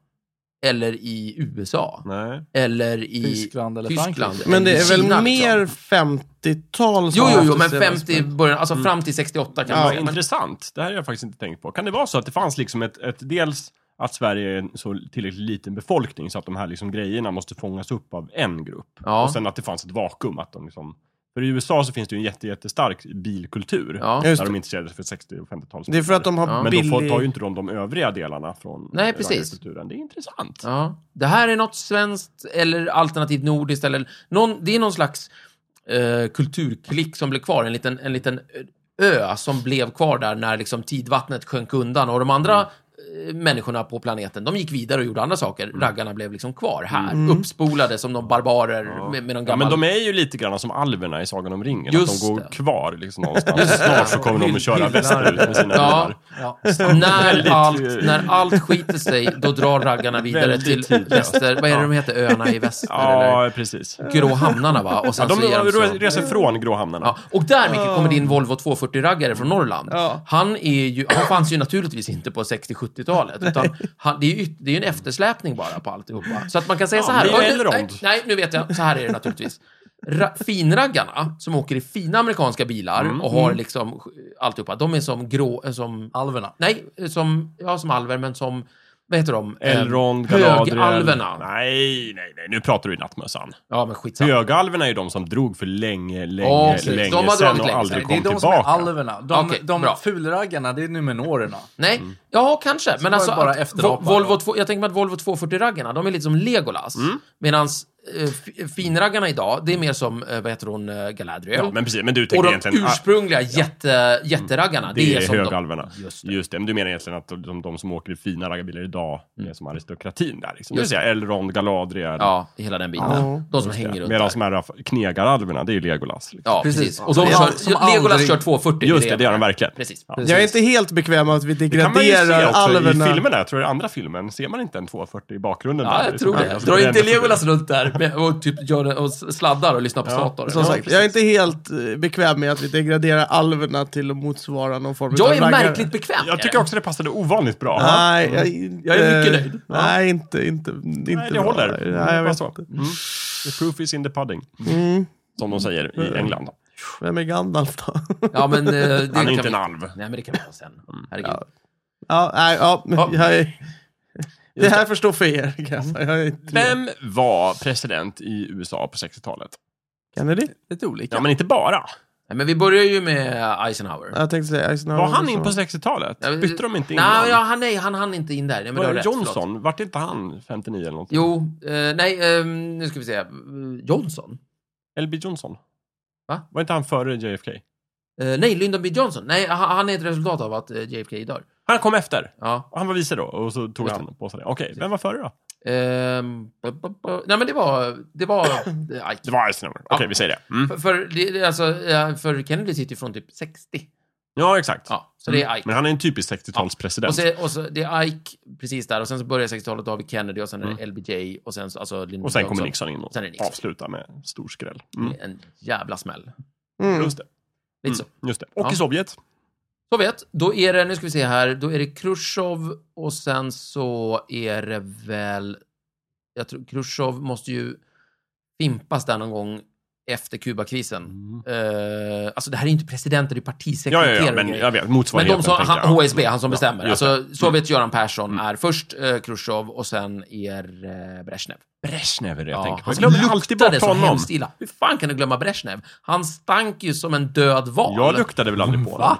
Speaker 2: Eller i USA.
Speaker 4: Nej.
Speaker 2: Eller i
Speaker 3: Tyskland eller
Speaker 2: Tyskland.
Speaker 3: Frankrike.
Speaker 1: Men det
Speaker 2: eller
Speaker 1: är väl
Speaker 2: Kina,
Speaker 1: mer
Speaker 2: Liksom.
Speaker 1: 50-tal som
Speaker 2: Jo, jo,
Speaker 1: har
Speaker 2: jo,
Speaker 1: haft
Speaker 2: men
Speaker 1: det senast,
Speaker 2: 50 början, alltså
Speaker 3: Mm.
Speaker 2: fram till 68 kan man
Speaker 4: Ja,
Speaker 2: säga. Men,
Speaker 4: intressant. Det här har jag faktiskt inte tänkt på. Kan det vara så att det fanns liksom ett, ett dels att Sverige är en så tillräckligt liten befolkning så att de här liksom grejerna måste fångas upp av en grupp.
Speaker 2: Ja.
Speaker 4: Och sen att det fanns ett vakuum. Att de liksom, för i USA så finns det ju en jätte, jättestark bilkultur.
Speaker 2: Ja.
Speaker 4: Där
Speaker 1: Just
Speaker 4: de
Speaker 1: det.
Speaker 4: är intresserade för 60 och 50-tals.
Speaker 1: Det är för att de har
Speaker 2: Ja.
Speaker 4: Men
Speaker 1: billig...
Speaker 4: då får- tar ju inte de de övriga delarna från
Speaker 2: Nej,
Speaker 4: eh,
Speaker 2: precis.
Speaker 4: raggarkulturen. Det är intressant.
Speaker 2: ja. Det här är något svenskt eller alternativt nordiskt eller någon, det är någon slags eh, kulturklick som blev kvar. En liten, en liten ö som blev kvar där när liksom tidvattnet sjönk undan och de andra
Speaker 4: Mm.
Speaker 2: eh, människorna på planeten, de gick vidare och gjorde andra saker. Raggarna blev liksom kvar här, uppspolade som de barbarer med, med någon
Speaker 4: Mm. Ja,
Speaker 2: gammal...
Speaker 4: men de är ju lite grann som alverna i Sagan om ringen.
Speaker 2: Just
Speaker 4: att de går
Speaker 2: det.
Speaker 4: kvar
Speaker 2: [LAUGHS]
Speaker 4: liksom, någonstans. Snart så kommer de att köra västerut med sina
Speaker 2: Ja,
Speaker 4: bilar.
Speaker 3: Ja.
Speaker 2: När
Speaker 4: Väldigt,
Speaker 2: allt,
Speaker 4: eh,
Speaker 2: när allt skiter sig, då drar raggarna vidare
Speaker 4: Väldigt
Speaker 2: till
Speaker 4: tydligt.
Speaker 2: väster. Vad är det de heter? Öarna i väster?
Speaker 4: Ja, precis.
Speaker 2: Eller grå hamnarna, va? Och
Speaker 4: Ja,
Speaker 2: sen
Speaker 4: de
Speaker 2: så ger de sig-
Speaker 4: reser från Gråhamnarna.
Speaker 2: Alltså, Ja, och där, Micke, kommer
Speaker 4: Ah.
Speaker 2: din Volvo 240-raggare från Norrland.
Speaker 1: Ja.
Speaker 2: Han, är ju, han fanns ju naturligtvis inte på 60-70-talet. Utan han, det, är ju, yt- det är ju en eftersläpning bara på alltihopa. Så att man kan säga
Speaker 4: Ja,
Speaker 2: så här.
Speaker 4: men
Speaker 2: "Oj,
Speaker 4: det är
Speaker 2: nu-
Speaker 4: Elrond."
Speaker 2: nej, nej, nu vet jag. Så här är det naturligtvis. Ra, finraggarna, som åker i fina amerikanska bilar
Speaker 4: Mm,
Speaker 2: och har liksom sk- alltihopa, de är som grå... eh, Som,
Speaker 3: Alverna.
Speaker 2: nej, eh, som, ja, som alver, men som... Vad heter de? Eh,
Speaker 4: Elrond, Galadriel.
Speaker 2: Högalverna.
Speaker 4: Nej, nej, nej. Nu pratar du i nattmössan.
Speaker 2: Ja, men skitsamma.
Speaker 4: Högalverna är ju de som drog för länge, länge,
Speaker 2: Ja, precis.
Speaker 4: länge
Speaker 2: De har
Speaker 4: sen
Speaker 2: dragit
Speaker 4: och
Speaker 2: länge
Speaker 4: aldrig
Speaker 2: sen.
Speaker 3: Det
Speaker 4: kom
Speaker 3: är de som är
Speaker 4: tillbaka.
Speaker 3: alverna. De,
Speaker 2: Okej,
Speaker 3: de
Speaker 2: bra.
Speaker 3: fulraggarna, det är numenorerna.
Speaker 2: Nej,
Speaker 4: Mm.
Speaker 2: ja kanske. Men
Speaker 3: var
Speaker 2: alltså,
Speaker 3: det bara
Speaker 2: att
Speaker 3: efterapar.
Speaker 2: Vo- Volvo 2, jag tänker mig att Volvo 240-raggarna, de är lite som Legolas.
Speaker 4: Mm.
Speaker 2: Medan finraggarna idag, det är mer som, eh, vad heter hon, eh, Galadriel.
Speaker 4: Ja, men precis. Men du
Speaker 2: och
Speaker 4: tänker
Speaker 2: de
Speaker 4: egentligen... ah, Mm.
Speaker 2: ursprungliga jätte, jätteraggarna,
Speaker 4: Det är
Speaker 2: som de-
Speaker 4: högalverna.
Speaker 2: Just
Speaker 4: Just
Speaker 2: det.
Speaker 4: det. Men du menar egentligen att de, de som åker i fina raggarbilar idag är som aristokratin där. Liksom. Det vill
Speaker 2: Mm. Just
Speaker 4: säga Elrond, Galadriel.
Speaker 2: Ja, hela den biten.
Speaker 1: Ja.
Speaker 2: De som hänger runt
Speaker 4: Medan
Speaker 2: där.
Speaker 4: de här knegaralverna, det är ju Legolas. Liksom.
Speaker 2: Ja,
Speaker 3: Precis.
Speaker 2: precis. Och de
Speaker 3: Som
Speaker 2: kör,
Speaker 3: all- som
Speaker 2: Legolas
Speaker 3: aldrig-
Speaker 2: kör 240.
Speaker 4: Just det, det gör de verkligen.
Speaker 2: Precis.
Speaker 4: Ja.
Speaker 1: Jag är inte helt bekväm med att vi
Speaker 4: Det kan man ju se
Speaker 1: degraderar
Speaker 4: också
Speaker 1: alverna.
Speaker 4: i filmerna. Jag tror i andra filmen ser man inte en 240 i bakgrunden.
Speaker 2: Ja,
Speaker 4: där,
Speaker 2: jag tror
Speaker 4: liksom.
Speaker 2: det.
Speaker 4: Alltså,
Speaker 2: Dra
Speaker 4: det är
Speaker 2: inte
Speaker 4: ändå-
Speaker 2: Legolas runt där med, och typ gör det, och sladdar och lyssnar på Sator.
Speaker 1: Som
Speaker 2: Ja,
Speaker 1: sagt,
Speaker 2: precis.
Speaker 1: jag är inte helt eh, bekväm med att vi degraderar alverna till att motsvara någon form
Speaker 2: jag
Speaker 1: av
Speaker 2: är
Speaker 1: raggare.
Speaker 2: märkligt bekväm.
Speaker 4: Jag tycker också det passade ovanligt bra.
Speaker 1: Nej, jag, är inte,
Speaker 2: Jag är mycket nöjd.
Speaker 1: Nej, inte, inte, inte
Speaker 4: Nej, det
Speaker 1: bra.
Speaker 4: håller.
Speaker 1: Nej, jag
Speaker 4: Bara
Speaker 1: vet
Speaker 4: så.
Speaker 1: inte. Mm.
Speaker 4: Mm. The proof is in the pudding. Som de säger i England.
Speaker 1: Vem är Gandalf då? [LAUGHS]
Speaker 2: Ja, men, eh,
Speaker 4: Han
Speaker 2: det
Speaker 4: är
Speaker 2: kan
Speaker 4: inte
Speaker 2: vi-
Speaker 4: en alv. Mm.
Speaker 2: Nej, men det kan vi ta sen. Herregud.
Speaker 1: ja, nej, ja, men
Speaker 2: Ja.
Speaker 1: jag är... Det här förstår för er, kan jag säga. Jag är inte
Speaker 4: Vem var president i USA på 60-talet?
Speaker 1: Kennedy?
Speaker 3: Lite olika.
Speaker 4: Ja, men inte bara.
Speaker 2: Nej, men vi börjar ju med Eisenhower.
Speaker 1: Jag tänkte säga Eisenhower.
Speaker 4: Var han
Speaker 1: så.
Speaker 4: in på 60-talet?
Speaker 2: Ja, men-
Speaker 4: Bytte de inte in
Speaker 2: Nej,
Speaker 4: honom?
Speaker 2: ja, han, nej, han hann inte in där. Nej, men du har
Speaker 4: Var det
Speaker 2: rätt, förlåt.
Speaker 4: Johnson? Vart inte han 59 eller någonting?
Speaker 2: Jo, eh, nej, ehm, nu ska vi se. Eh, Johnson?
Speaker 4: LB Johnson?
Speaker 2: Va?
Speaker 4: Var inte han före JFK?
Speaker 2: Eh, nej, Lyndon B. Johnson. Nej, han, han är ett resultat av att eh, JFK dör.
Speaker 4: Han kom efter.
Speaker 2: Ja.
Speaker 4: Och Han var vice då och så tog
Speaker 2: Just
Speaker 4: han på sig det. Okej, vem var före då?
Speaker 2: Ehm, bu- bu- bu- nej, men det var... Det var... eh, Ike.
Speaker 4: Det var Eisenhower. Okej,
Speaker 2: Ja.
Speaker 4: vi säger det. Mm.
Speaker 2: För, för, det- det- alltså, eh, för Kennedy sitter ju från typ 60.
Speaker 4: Ja, exakt.
Speaker 2: Ja, så det är Ike.
Speaker 4: Men han är en typisk 60-talspresident.
Speaker 2: Och, så, och så, det är Ike precis där och sen så börjar 60-talet, då har vi Kennedy och sen är det LBJ och sen så, alltså Lyndon
Speaker 4: Mm. Och sen kommer
Speaker 2: Johnson.
Speaker 4: Nixon in och
Speaker 2: Sen är det Nixon.
Speaker 4: avslutar med stor skräll. Mm.
Speaker 2: En jävla smäll.
Speaker 1: Mm.
Speaker 4: Just det.
Speaker 2: Lite så.
Speaker 4: Mm, Just det. Och
Speaker 2: Ja.
Speaker 4: i Sovjet.
Speaker 2: Sovjet, då är det, nu ska vi se här, då är det Khrushchev och sen så är det väl, jag tror Khrushchev måste ju fimpas där någon gång efter Kubakrisen. Eh, alltså det här är ju inte presidenter, det är
Speaker 4: Mm. Ja,
Speaker 2: partisekreterare
Speaker 4: ja, ja,
Speaker 2: och
Speaker 4: men
Speaker 2: grejer.
Speaker 4: jag vet.
Speaker 2: Men de
Speaker 4: Motsvarigheten.
Speaker 2: som,
Speaker 4: tänker
Speaker 2: han,
Speaker 4: jag.
Speaker 2: HSB, han som bestämmer.
Speaker 4: just Mm.
Speaker 2: alltså, Sovjets Göran Persson är först eh, Khrushchev och sen är eh, Brezhnev.
Speaker 4: Brezhnev är det jag
Speaker 2: Ja,
Speaker 4: tänker på.
Speaker 2: han
Speaker 4: Jag glömmer
Speaker 2: som
Speaker 4: alltid
Speaker 2: luktade
Speaker 4: bort
Speaker 2: så
Speaker 4: honom.
Speaker 2: hemskt illa. Hur fan kan du glömma Brezhnev? Han stank ju som en död val.
Speaker 4: Jag luktade väl aldrig på honom.
Speaker 3: Va?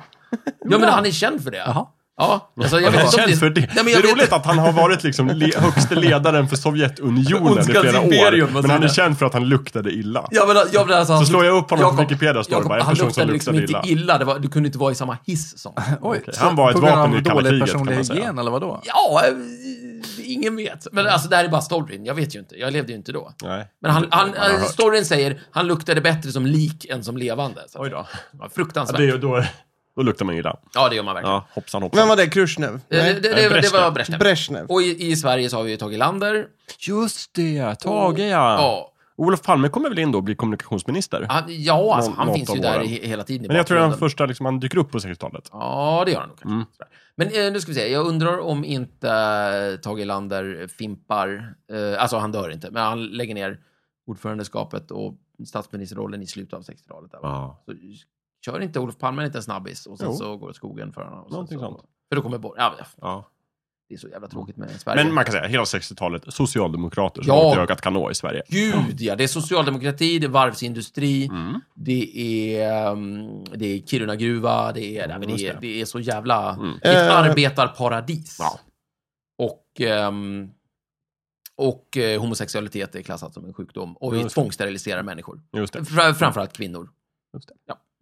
Speaker 2: Ja, men han är känd för det.
Speaker 3: Jaha.
Speaker 2: Ja, alltså, jag
Speaker 4: Jag
Speaker 2: vet
Speaker 4: är
Speaker 2: inte om
Speaker 4: känd för det.
Speaker 2: Nej, men
Speaker 4: det
Speaker 2: jag
Speaker 4: är
Speaker 2: vet-
Speaker 4: roligt att han har varit liksom le- högste ledaren för Sovjetunionen i
Speaker 3: Ondskans
Speaker 4: flera
Speaker 3: imperium, vad
Speaker 4: år. Men
Speaker 3: säger
Speaker 4: han är
Speaker 3: du?
Speaker 4: känd för att han luktade illa.
Speaker 3: Ja, men, ja, men alltså,
Speaker 4: Så
Speaker 3: han-
Speaker 4: slår jag upp honom på
Speaker 2: Jakob-
Speaker 4: Wikipedia står det
Speaker 2: Jakob,
Speaker 4: bara en
Speaker 2: han
Speaker 4: person som
Speaker 2: luktade liksom
Speaker 4: luktade
Speaker 2: inte
Speaker 4: illa.
Speaker 2: illa. Det var, du kunde inte vara i samma hiss
Speaker 4: [LAUGHS]
Speaker 2: som han.
Speaker 3: Oj,
Speaker 4: Okej, han var ett
Speaker 3: på grund
Speaker 4: vapen
Speaker 3: av
Speaker 4: i kalla
Speaker 3: dålig
Speaker 4: kriget,
Speaker 3: personlig
Speaker 4: kan man säga.
Speaker 3: hygien, eller vadå?
Speaker 2: Ja, eh, ingen vet. Men alltså, det här är bara storyn. Jag vet ju inte. Jag levde ju inte då.
Speaker 4: Nej.
Speaker 2: Men han, han,
Speaker 4: har
Speaker 2: eh,
Speaker 4: hört.
Speaker 2: storyn säger han luktade bättre som lik än som levande. Så att
Speaker 4: Oj
Speaker 2: säga.
Speaker 4: då.
Speaker 2: Ja,
Speaker 4: Ja,
Speaker 2: fruktansvärt.
Speaker 4: det, är ju- då, då luktar man ju illa.
Speaker 2: Ja, det gör man verkligen.
Speaker 4: Ja, hoppsan hoppsan.
Speaker 1: Vem var det? Khrushchev?
Speaker 2: Eh, Det,
Speaker 1: Nej.
Speaker 2: det, det, det var
Speaker 4: Brezhnev.
Speaker 2: Brezhnev.
Speaker 1: Brezhnev.
Speaker 2: Och i, i Sverige så har vi ju Tage Erlander.
Speaker 4: Just det, Tage ja.
Speaker 2: Ja,
Speaker 4: Olof Palme kommer väl in då och blir kommunikationsminister?
Speaker 2: han, ja alltså,
Speaker 4: Nå-
Speaker 2: han
Speaker 4: något
Speaker 2: finns
Speaker 4: av
Speaker 2: ju där
Speaker 4: åren.
Speaker 2: i, hela tiden. i
Speaker 4: Men jag tror han
Speaker 2: bakgrunden.
Speaker 4: första, liksom, han dyker upp på 60-talet.
Speaker 2: Ja, det gör han nog
Speaker 4: Mm.
Speaker 2: kanske. Sådär. Men eh, nu ska vi se, jag undrar om inte eh, Tage Erlander fimpar, eh, alltså han dör inte, men han lägger ner ordförandeskapet och statsministerrollen i slutet av 60-talet. Där, va?
Speaker 4: Ja.
Speaker 2: Så kör inte Olof Palme inte en snabbis och sen
Speaker 4: Jo.
Speaker 2: så går det åt skogen för honom. Och sen
Speaker 4: Någonting
Speaker 2: så,
Speaker 4: sånt.
Speaker 2: För då kommer bort. Ja, det är så jävla tråkigt med Sverige.
Speaker 4: Men man kan säga, hela 60-talet, socialdemokrater som
Speaker 2: Ja.
Speaker 4: ja. ögat kan nå i Sverige.
Speaker 2: Gud ja, det är socialdemokrati, det är varvsindustri, det är, ehm, det är Kiruna gruva, det är, nej, men det
Speaker 4: just
Speaker 2: är,
Speaker 4: det. Mm.
Speaker 2: det är så jävla, det är ett
Speaker 1: Eh.
Speaker 2: arbetarparadis.
Speaker 4: Ja.
Speaker 2: Och, ehm, och eh, homosexualitet är klassat som en sjukdom och vi
Speaker 4: Just det. Mm.
Speaker 2: tvångssteriliserar människor.
Speaker 4: Just det.
Speaker 2: Fra- Framförallt kvinnor.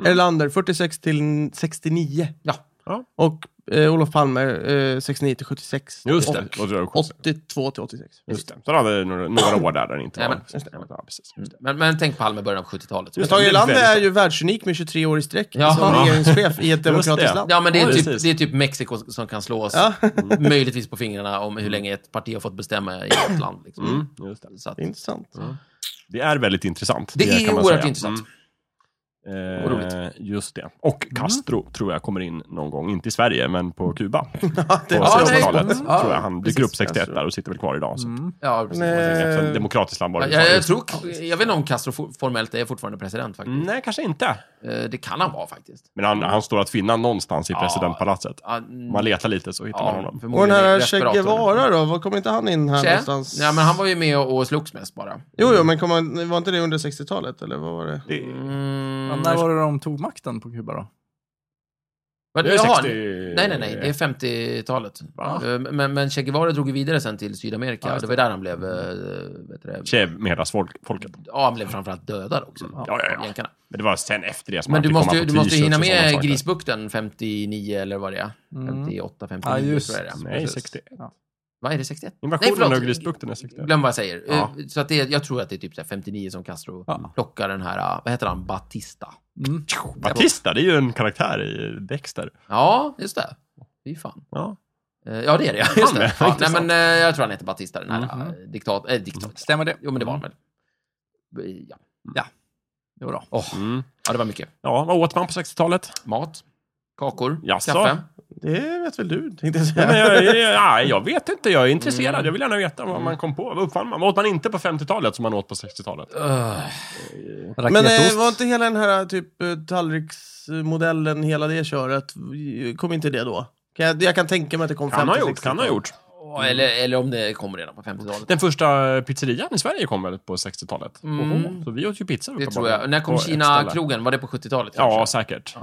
Speaker 1: Erlander, 46 till 69.
Speaker 2: Ja.
Speaker 4: Ja.
Speaker 1: Och eh, Olof Palme eh, 69 till 76.
Speaker 4: Just
Speaker 1: och
Speaker 4: det. Och så är det också-
Speaker 1: 82 till 86.
Speaker 4: Just det. Så hade vi några, några år där den inte
Speaker 2: Nej,
Speaker 4: var.
Speaker 2: men-
Speaker 4: Just det. Ja, precis. Just det.
Speaker 2: Men, men tänk Palme i början av 70-talet.
Speaker 4: Just
Speaker 1: Tage
Speaker 4: det är
Speaker 1: Erlander
Speaker 4: väldigt
Speaker 1: är ju världsunik med 23 år i sträck
Speaker 2: Ja.
Speaker 1: som
Speaker 2: Ja.
Speaker 1: regeringschef i ett
Speaker 4: Just
Speaker 1: demokratiskt
Speaker 4: det.
Speaker 1: land.
Speaker 2: Ja, men det är,
Speaker 4: Ja,
Speaker 2: typ,
Speaker 4: precis. Mm.
Speaker 2: det är typ Mexiko som kan slå oss,
Speaker 1: Ja.
Speaker 2: möjligtvis på fingrarna, om hur länge ett parti har fått bestämma i ett land. Liksom.
Speaker 4: Mm, just det.
Speaker 2: Så att,
Speaker 1: Intressant.
Speaker 4: det är väldigt intressant.
Speaker 2: det är
Speaker 4: kan man
Speaker 2: oerhört
Speaker 4: säga.
Speaker 2: intressant.
Speaker 4: Mm.
Speaker 2: Och roligt. Mm.
Speaker 4: Eh, just det. Och Castro tror jag kommer in någon gång, inte i Sverige, men på Kuba. På
Speaker 1: det är
Speaker 2: [LAUGHS] Ja, nej.
Speaker 4: 60-talet
Speaker 2: Mm.
Speaker 4: tror jag. Han dyker
Speaker 1: precis.
Speaker 4: upp 61 där och sitter väl kvar idag. Så.
Speaker 2: Ja, precis.
Speaker 1: Men-
Speaker 4: Eftersom demokratiskt land var det
Speaker 2: jag, Eh, jag,
Speaker 4: ju.
Speaker 2: jag, tror, jag vet inte om Castro for- formellt är fortfarande president faktiskt.
Speaker 4: Nej, kanske inte.
Speaker 2: Eh, Det kan han vara faktiskt.
Speaker 4: Men han, han står att finna någonstans i
Speaker 2: Ja.
Speaker 4: presidentpalatset.
Speaker 2: Ja,
Speaker 4: Om man letar lite så hittar man honom.
Speaker 1: Och den här Che
Speaker 2: respiratorn.
Speaker 1: Guevara då, var kom inte han in här
Speaker 2: Che?
Speaker 1: någonstans?
Speaker 2: Nej, men han var ju med och och slogs mest bara. Mm,
Speaker 1: Jo, jo, men kom han, var inte det under 60-talet eller vad var det?
Speaker 4: Det,
Speaker 2: Mm.
Speaker 3: Men när var det de tog makten på Kuba då?
Speaker 2: Vad-
Speaker 4: det är
Speaker 2: jaha,
Speaker 4: 60...
Speaker 2: Nej, nej, nej. Det är 50-talet.
Speaker 4: Va?
Speaker 2: Eh, Men, men Che Guevara drog ju vidare sen till Sydamerika.
Speaker 4: Ja, just
Speaker 2: det var ju där han blev... eh, Vet du det?
Speaker 4: Che med hela svol- folket.
Speaker 2: Ja, han blev framförallt dödad också.
Speaker 4: Ja, ja, ja.
Speaker 2: av länkarna.
Speaker 4: Men det var sen efter det som
Speaker 2: Men
Speaker 4: han
Speaker 2: du
Speaker 4: fick
Speaker 2: måste,
Speaker 4: komma på
Speaker 2: ju- du måste ju
Speaker 4: t-shirts
Speaker 2: hinna
Speaker 4: och sådana
Speaker 2: med
Speaker 4: saker.
Speaker 2: Grisbukten 59 eller vad det är. 58, 59
Speaker 3: Ja, just
Speaker 2: tror jag det är.
Speaker 4: Nej,
Speaker 3: Precis.
Speaker 4: 61.
Speaker 3: Ja.
Speaker 2: Vad är det, 61?
Speaker 4: Invasionen av Grisbukten är 61.
Speaker 2: Glöm vad jag säger.
Speaker 4: Ja.
Speaker 2: Eh, Så att det, är- jag tror att det är typ så här 59 som Castro
Speaker 3: Ja.
Speaker 2: plockar den här, eh, vad heter han, Batista?
Speaker 3: Mm.
Speaker 4: Batista, det är ju en karaktär i Dexter.
Speaker 2: Ja, just det. Fy fan.
Speaker 4: Ja.
Speaker 2: Eh, Ja, det [LAUGHS] är det. ja, Just det. Ja, nej,
Speaker 4: intressant.
Speaker 2: men eh, jag tror han heter Batista, den här
Speaker 3: Mhm.
Speaker 2: mm diktat... Äh, diktat.
Speaker 3: Stämmer det? Mm.
Speaker 2: Jo, men det var han väl. Ja.
Speaker 3: Jo då.
Speaker 2: Åh,
Speaker 4: Mm.
Speaker 2: ja, det var mycket.
Speaker 4: ja, vad åt man på
Speaker 2: [LAUGHS]
Speaker 4: 60-talet?
Speaker 2: Mat, kakor,
Speaker 4: Jaså? Mm.
Speaker 2: kaffe.
Speaker 1: Det vet väl du, tänkte jag
Speaker 4: Nej,
Speaker 1: säga.
Speaker 4: men
Speaker 1: [LAUGHS]
Speaker 4: jag, jag, jag, jag vet inte, jag är
Speaker 2: Mm.
Speaker 4: intresserad. Jag vill gärna veta vad man kom på. Vad uppfann man? Vad åt man inte på 50-talet som man åt på 60-talet?
Speaker 2: Öh,
Speaker 1: Men
Speaker 3: Raketost.
Speaker 1: eh, var inte hela den här typ eh, tallriksmodellen, hela det köret, eh, kom inte det då? Kan jag, jag kan tänka mig att det kom
Speaker 4: Kan ha
Speaker 1: 50-60-tal.
Speaker 4: gjort, kan ha gjort.
Speaker 2: eller, eller om det kommer redan på 50-talet.
Speaker 4: Den första pizzerian i Sverige kom väl på 60-talet?
Speaker 2: Mm.
Speaker 4: Så vi åt ju pizza
Speaker 2: Det tror
Speaker 4: uppenbarligen
Speaker 2: jag. När kom
Speaker 4: på ett ställe.
Speaker 2: Kina-krogen? Var det på 70-talet? kanske?
Speaker 4: Ja, säkert.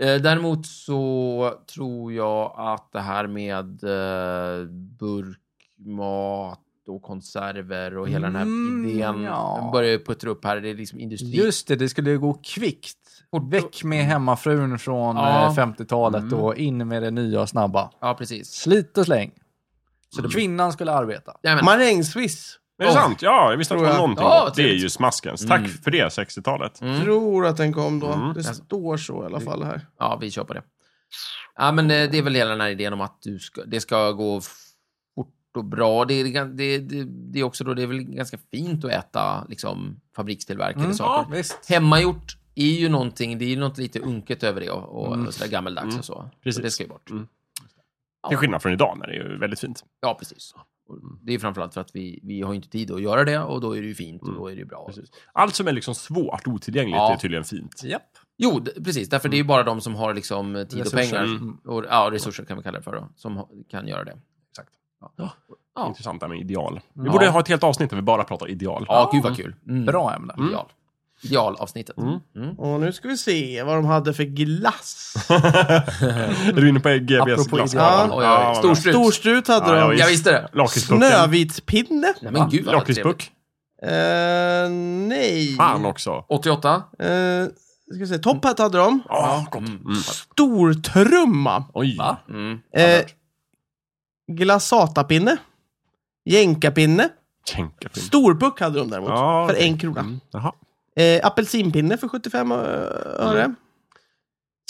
Speaker 2: Eh, Däremot så tror jag att det här med eh, burkmat och konserver och hela den här
Speaker 3: Mm,
Speaker 2: idén
Speaker 3: ja.
Speaker 2: börjar ju puttra upp här. Det är liksom industri.
Speaker 3: Just det, det skulle ju gå kvickt. Väck med hemmafrun från
Speaker 2: Ja. Mm.
Speaker 3: eh, 50-talet och in med det nya och snabba.
Speaker 2: Ja, precis.
Speaker 3: Slit och släng. Så
Speaker 2: Mm.
Speaker 3: kvinnan skulle arbeta.
Speaker 2: Jajamän.
Speaker 1: Marängsviss.
Speaker 4: Är det
Speaker 2: Ja.
Speaker 4: sant? Ja, jag visste att det
Speaker 1: Tror jag.
Speaker 4: var någonting.
Speaker 2: Ja,
Speaker 4: det är
Speaker 2: trevligt.
Speaker 4: ju smaskens. Tack för det, 60-talet.
Speaker 2: Mm.
Speaker 1: Tror att den kom då. Mm. Det står så i alla fall här.
Speaker 2: Ja, vi kör på det. Ja, men eh, det är väl hela den här idén om att du ska, det ska gå fort och bra. Det är, gan- det, det, det är också då, det är väl ganska fint att äta liksom, fabrikstillverkade
Speaker 3: Mm.
Speaker 2: saker.
Speaker 3: visst.
Speaker 2: Hemmagjort är ju någonting, det är ju något lite unket över det och, och sådär gammeldags och så. Så
Speaker 4: Precis.
Speaker 2: det ska ju bort.
Speaker 4: Till skillnad från idag när det är ju väldigt fint.
Speaker 2: Ja, precis. Och Det är framförallt för att vi, vi har ju inte tid att göra det och då är det ju fint och då är det ju bra.
Speaker 4: Precis. Allt som är liksom svårt, otillgängligt,
Speaker 2: Ja.
Speaker 4: är tydligen fint.
Speaker 3: Japp.
Speaker 2: Jo, d- precis. Därför det är ju bara de som har liksom eh, tid och
Speaker 3: Resurser.
Speaker 2: pengar,
Speaker 3: Mm.
Speaker 2: och, ja, resurser kan vi kalla det för, då, som ha- kan göra det.
Speaker 4: Exakt.
Speaker 2: Ja, ja.
Speaker 4: Intressant det här med ideal. Vi
Speaker 2: Ja.
Speaker 4: borde ha ett helt avsnitt där vi bara pratar ideal.
Speaker 2: ja
Speaker 4: [LAUGHS]
Speaker 2: gud vad kul. Mm.
Speaker 3: Bra ämne.
Speaker 2: Ideal. Idealavsnittet. Mm.
Speaker 1: Och nu ska vi se vad de hade för [LAUGHS] glass.
Speaker 4: är du inne på GBs
Speaker 3: Apropå
Speaker 4: glasskala?
Speaker 2: Oj, oj, oj. Storstrut.
Speaker 1: Storstrut hade
Speaker 4: Ja,
Speaker 1: de.
Speaker 4: ja,
Speaker 2: Jag visste det.
Speaker 4: Lakritspucken.
Speaker 1: Snövitspinne.
Speaker 2: Nej, men gud vad trevligt. Mm.
Speaker 4: Lakritspuck.
Speaker 1: Eh, nej.
Speaker 4: Fan också.
Speaker 2: 88.
Speaker 1: Eh, ska vi se. Top Hat hade de.
Speaker 4: Ja, gott.
Speaker 1: Stortrumma.
Speaker 4: Oj.
Speaker 3: Va?
Speaker 2: Mm.
Speaker 1: Eh, glassatapinne. Jänkapinne.
Speaker 4: Jänkafilm.
Speaker 1: Storpuck hade de däremot.
Speaker 4: Ja,
Speaker 1: för
Speaker 4: okej.
Speaker 1: en krona.
Speaker 4: Mm. Jaha.
Speaker 1: Eh, apelsinpinne för 75 ö- öre.
Speaker 4: Mm.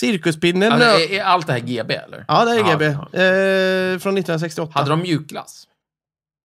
Speaker 1: Cirkuspinne.
Speaker 2: Alltså,
Speaker 1: nö-
Speaker 2: är, är allt det här GB, eller?
Speaker 1: eh, ja, det är GB.
Speaker 2: Ja,
Speaker 1: Eh, från 1968.
Speaker 2: Hade de mjukglass?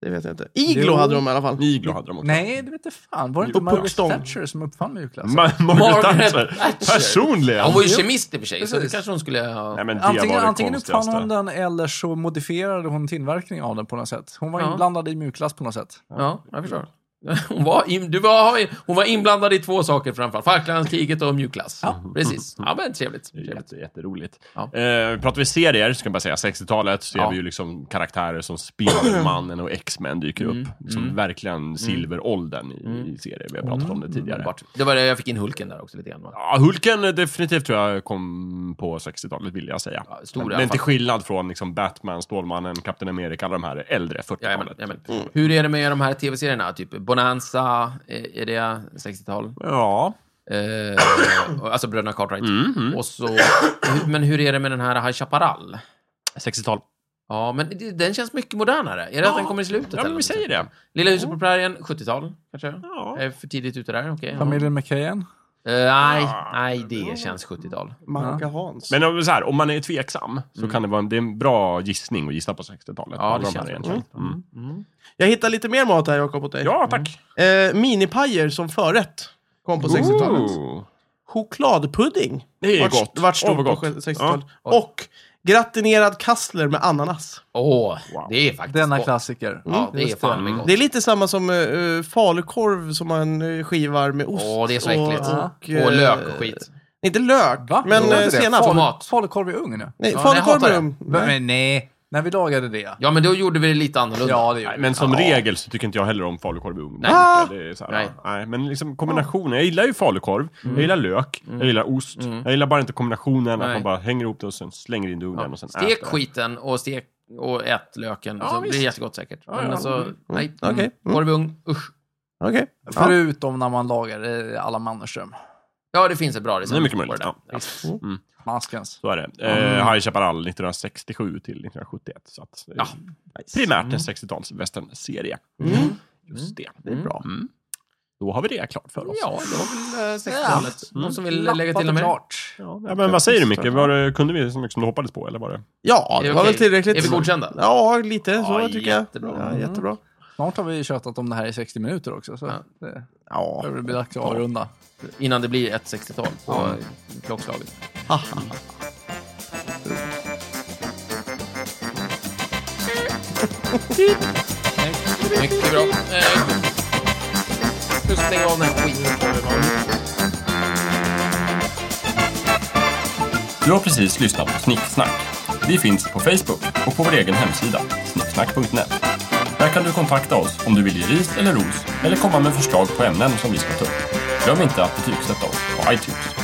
Speaker 1: Det vet jag inte. Iglo
Speaker 3: Jo.
Speaker 1: hade de i alla fall.
Speaker 4: Iglo hade de också.
Speaker 3: Nej, det vet jag fan. Var det inte
Speaker 1: Och
Speaker 3: Margaret
Speaker 1: puckstång.
Speaker 3: Thatcher som uppfann mjukglass?
Speaker 4: Ma- Margaret Thatcher. Personligen.
Speaker 2: Hon var ju
Speaker 3: Jo.
Speaker 2: kemist i och för sig, så det
Speaker 3: Precis.
Speaker 2: kanske hon skulle ha...
Speaker 4: Nej, men det
Speaker 3: Antingen,
Speaker 4: var det
Speaker 3: antingen uppfann
Speaker 4: konstigaste.
Speaker 3: hon den eller så modifierade hon tillverkningen av den på något sätt. Hon var
Speaker 2: Ja.
Speaker 3: inblandad i mjukglass på något sätt.
Speaker 2: Ja, jag förstår. [LAUGHS] Hon var, in, du var, hon var inblandad i två saker framförallt. Falklandskriget och mjukglass. Ja. Precis. Ja, men trevligt.
Speaker 4: Det är
Speaker 2: trevligt.
Speaker 4: jätte, jätteroligt.
Speaker 2: Ja.
Speaker 4: Eh, pratar vi serier, så kan jag bara säga 60-talet, så ser
Speaker 2: Ja.
Speaker 4: vi ju liksom karaktärer som [CLEARS THROAT] Spindelmannen och X-Men dyker
Speaker 2: Mm.
Speaker 4: upp. Liksom Verkligen silveråldern i, i serier. Vi har pratat
Speaker 3: Mm.
Speaker 4: om det tidigare.
Speaker 2: Underbart. Det var det jag fick in Hulken där också lite grann. va?
Speaker 4: Ja, Hulken eh, definitivt tror jag kom på 60-talet, vill jag säga.
Speaker 2: Ja, stor i alla
Speaker 4: men men till
Speaker 2: fall.
Speaker 4: skillnad från liksom Batman, Stålmannen, Kapten Amerika, alla de här äldre 40-talet.
Speaker 2: Jajamän, jajamän.
Speaker 4: Mm.
Speaker 2: Hur är det med de här tv-serierna? Typ Bonanza, eh, är det 60-tal?
Speaker 4: Ja,
Speaker 2: Eh, alltså bröderna Cartwright.
Speaker 4: Mm,
Speaker 2: Och så, men hur är det med den här High Chaparral?
Speaker 4: 60-tal.
Speaker 2: Ja, men det- den känns mycket modernare. Är det att den kommer i slutet?
Speaker 4: Ja,
Speaker 2: eller
Speaker 4: men vi
Speaker 2: något
Speaker 4: säger
Speaker 2: sånt?
Speaker 4: det.
Speaker 2: Lilla huset på prärien, 70-tal kanske?
Speaker 4: Ja.
Speaker 2: Är för tidigt ute där, okej. ja.
Speaker 3: Familjen McKayen?
Speaker 2: Eh, nej, nej, det känns 70-tal.
Speaker 1: Manka Hans.
Speaker 4: Men om, så här, om man är tveksam så kan det vara en, det är en bra gissning att gissa på 60-talet.
Speaker 2: Mm. Ja, det
Speaker 4: Vad man
Speaker 2: känns
Speaker 4: egentligen. Mm.
Speaker 1: Jag hittar lite mer mat här Jakob åt dig.
Speaker 4: Ja, tack.
Speaker 1: Eh, minipajer som förrätt kom på 60-talet.
Speaker 4: Ooh.
Speaker 1: Chokladpudding.
Speaker 4: Det är
Speaker 1: vart,
Speaker 4: gott.
Speaker 1: Vart
Speaker 4: Åh,
Speaker 1: stort
Speaker 4: vad
Speaker 1: på
Speaker 4: gott.
Speaker 1: 60-talet. Och gratinerad kassler med ananas.
Speaker 2: Åh,
Speaker 4: Wow.
Speaker 2: det är faktiskt
Speaker 3: Denna
Speaker 2: gott.
Speaker 3: klassiker.
Speaker 2: Ja, det är
Speaker 3: Just
Speaker 2: fan med gott.
Speaker 1: Det
Speaker 4: Mm.
Speaker 1: är lite samma som uh, falukorv som man eh, skivar med ost.
Speaker 2: Åh, det är så äckligt.
Speaker 1: Och,
Speaker 2: Och
Speaker 1: eh,
Speaker 2: lök och skit.
Speaker 1: Inte lök,
Speaker 3: Va?
Speaker 1: men
Speaker 2: Jo, det är
Speaker 1: uh,
Speaker 2: det.
Speaker 1: senap.
Speaker 2: Falu-
Speaker 3: Falu,
Speaker 2: Mat.
Speaker 3: falukorv i ugn nu.
Speaker 1: Nej,
Speaker 2: Ja,
Speaker 1: falukorv
Speaker 2: nej, jag
Speaker 1: med ugn. Nej.
Speaker 2: hatar
Speaker 3: Men nej, när vi lagade det.
Speaker 2: Ja, men då gjorde vi det lite annorlunda.
Speaker 3: Ja, det gjorde
Speaker 4: Nej,
Speaker 3: vi.
Speaker 4: men som regel så tycker inte jag heller om falukorv i ugn.
Speaker 2: typ. Nej.
Speaker 4: Ah! Det är så här,
Speaker 2: Nej. Mm.
Speaker 4: nej. men liksom kombinationen. Jag gillar ju falukorv, jag gillar lök, jag gillar ost. Jag gillar bara inte kombinationen
Speaker 2: Nej.
Speaker 4: att man bara hänger ihop det och sen slänger in det i ugnen och sen
Speaker 2: Stek
Speaker 4: äter.
Speaker 2: skiten och stek och ät löken.
Speaker 4: Ja,
Speaker 2: så blir det
Speaker 4: visst.
Speaker 2: jättegott säkert.
Speaker 4: Ja,
Speaker 2: men
Speaker 4: ja.
Speaker 2: alltså, nej.
Speaker 1: Okej.
Speaker 2: Mm. Korv i ugn, usch.
Speaker 1: Okej. Ja.
Speaker 3: Förutom när man lagade alla Mannerström.
Speaker 2: Ja, det finns ett bra recept.
Speaker 4: Det är mycket
Speaker 2: på
Speaker 4: möjligt.
Speaker 2: där. Mm.
Speaker 4: Ja.
Speaker 3: Maskens.
Speaker 4: Så är det. Eh, High Chaparral 1967 till 1971. Så att, eh,
Speaker 2: Ja. Mm.
Speaker 4: Primärt en 60-tals westernserie. Just det.
Speaker 1: Det är bra.
Speaker 4: Då har vi det klart för oss.
Speaker 2: Mm. Ja, det var väl eh, 60-talet. Någon som vill lägga till
Speaker 3: Lappat
Speaker 2: något
Speaker 3: och
Speaker 2: mer?
Speaker 3: klart.
Speaker 4: Ja, men vad säger du Micke? Var det, kunde vi så mycket som du hoppades på eller var det?
Speaker 1: Ja, det var
Speaker 2: okej?
Speaker 1: väl tillräckligt.
Speaker 2: Är vi godkända?
Speaker 1: Ja, lite
Speaker 2: Ja,
Speaker 1: så tycker jag.
Speaker 2: jättebra.
Speaker 1: Ja, jättebra.
Speaker 3: Snart har vi tjatat om det här i 60 minuter också. Så det
Speaker 1: Ja.
Speaker 3: börjar bli dags att avrunda.
Speaker 2: Innan det blir ett 60-tal på ja. klockslaget.
Speaker 1: Ah.
Speaker 2: Mycket bra. Eh, Nu stänger jag av den här skiten.
Speaker 4: Du har precis lyssnat på Snicksnack. Vi finns på Facebook och på vår egen hemsida, snicksnack.net. Där kan du kontakta oss om du vill ge ris eller ros eller komma med förslag på ämnen som vi ska ta upp. Glöm inte att betygsätta oss på iTunes.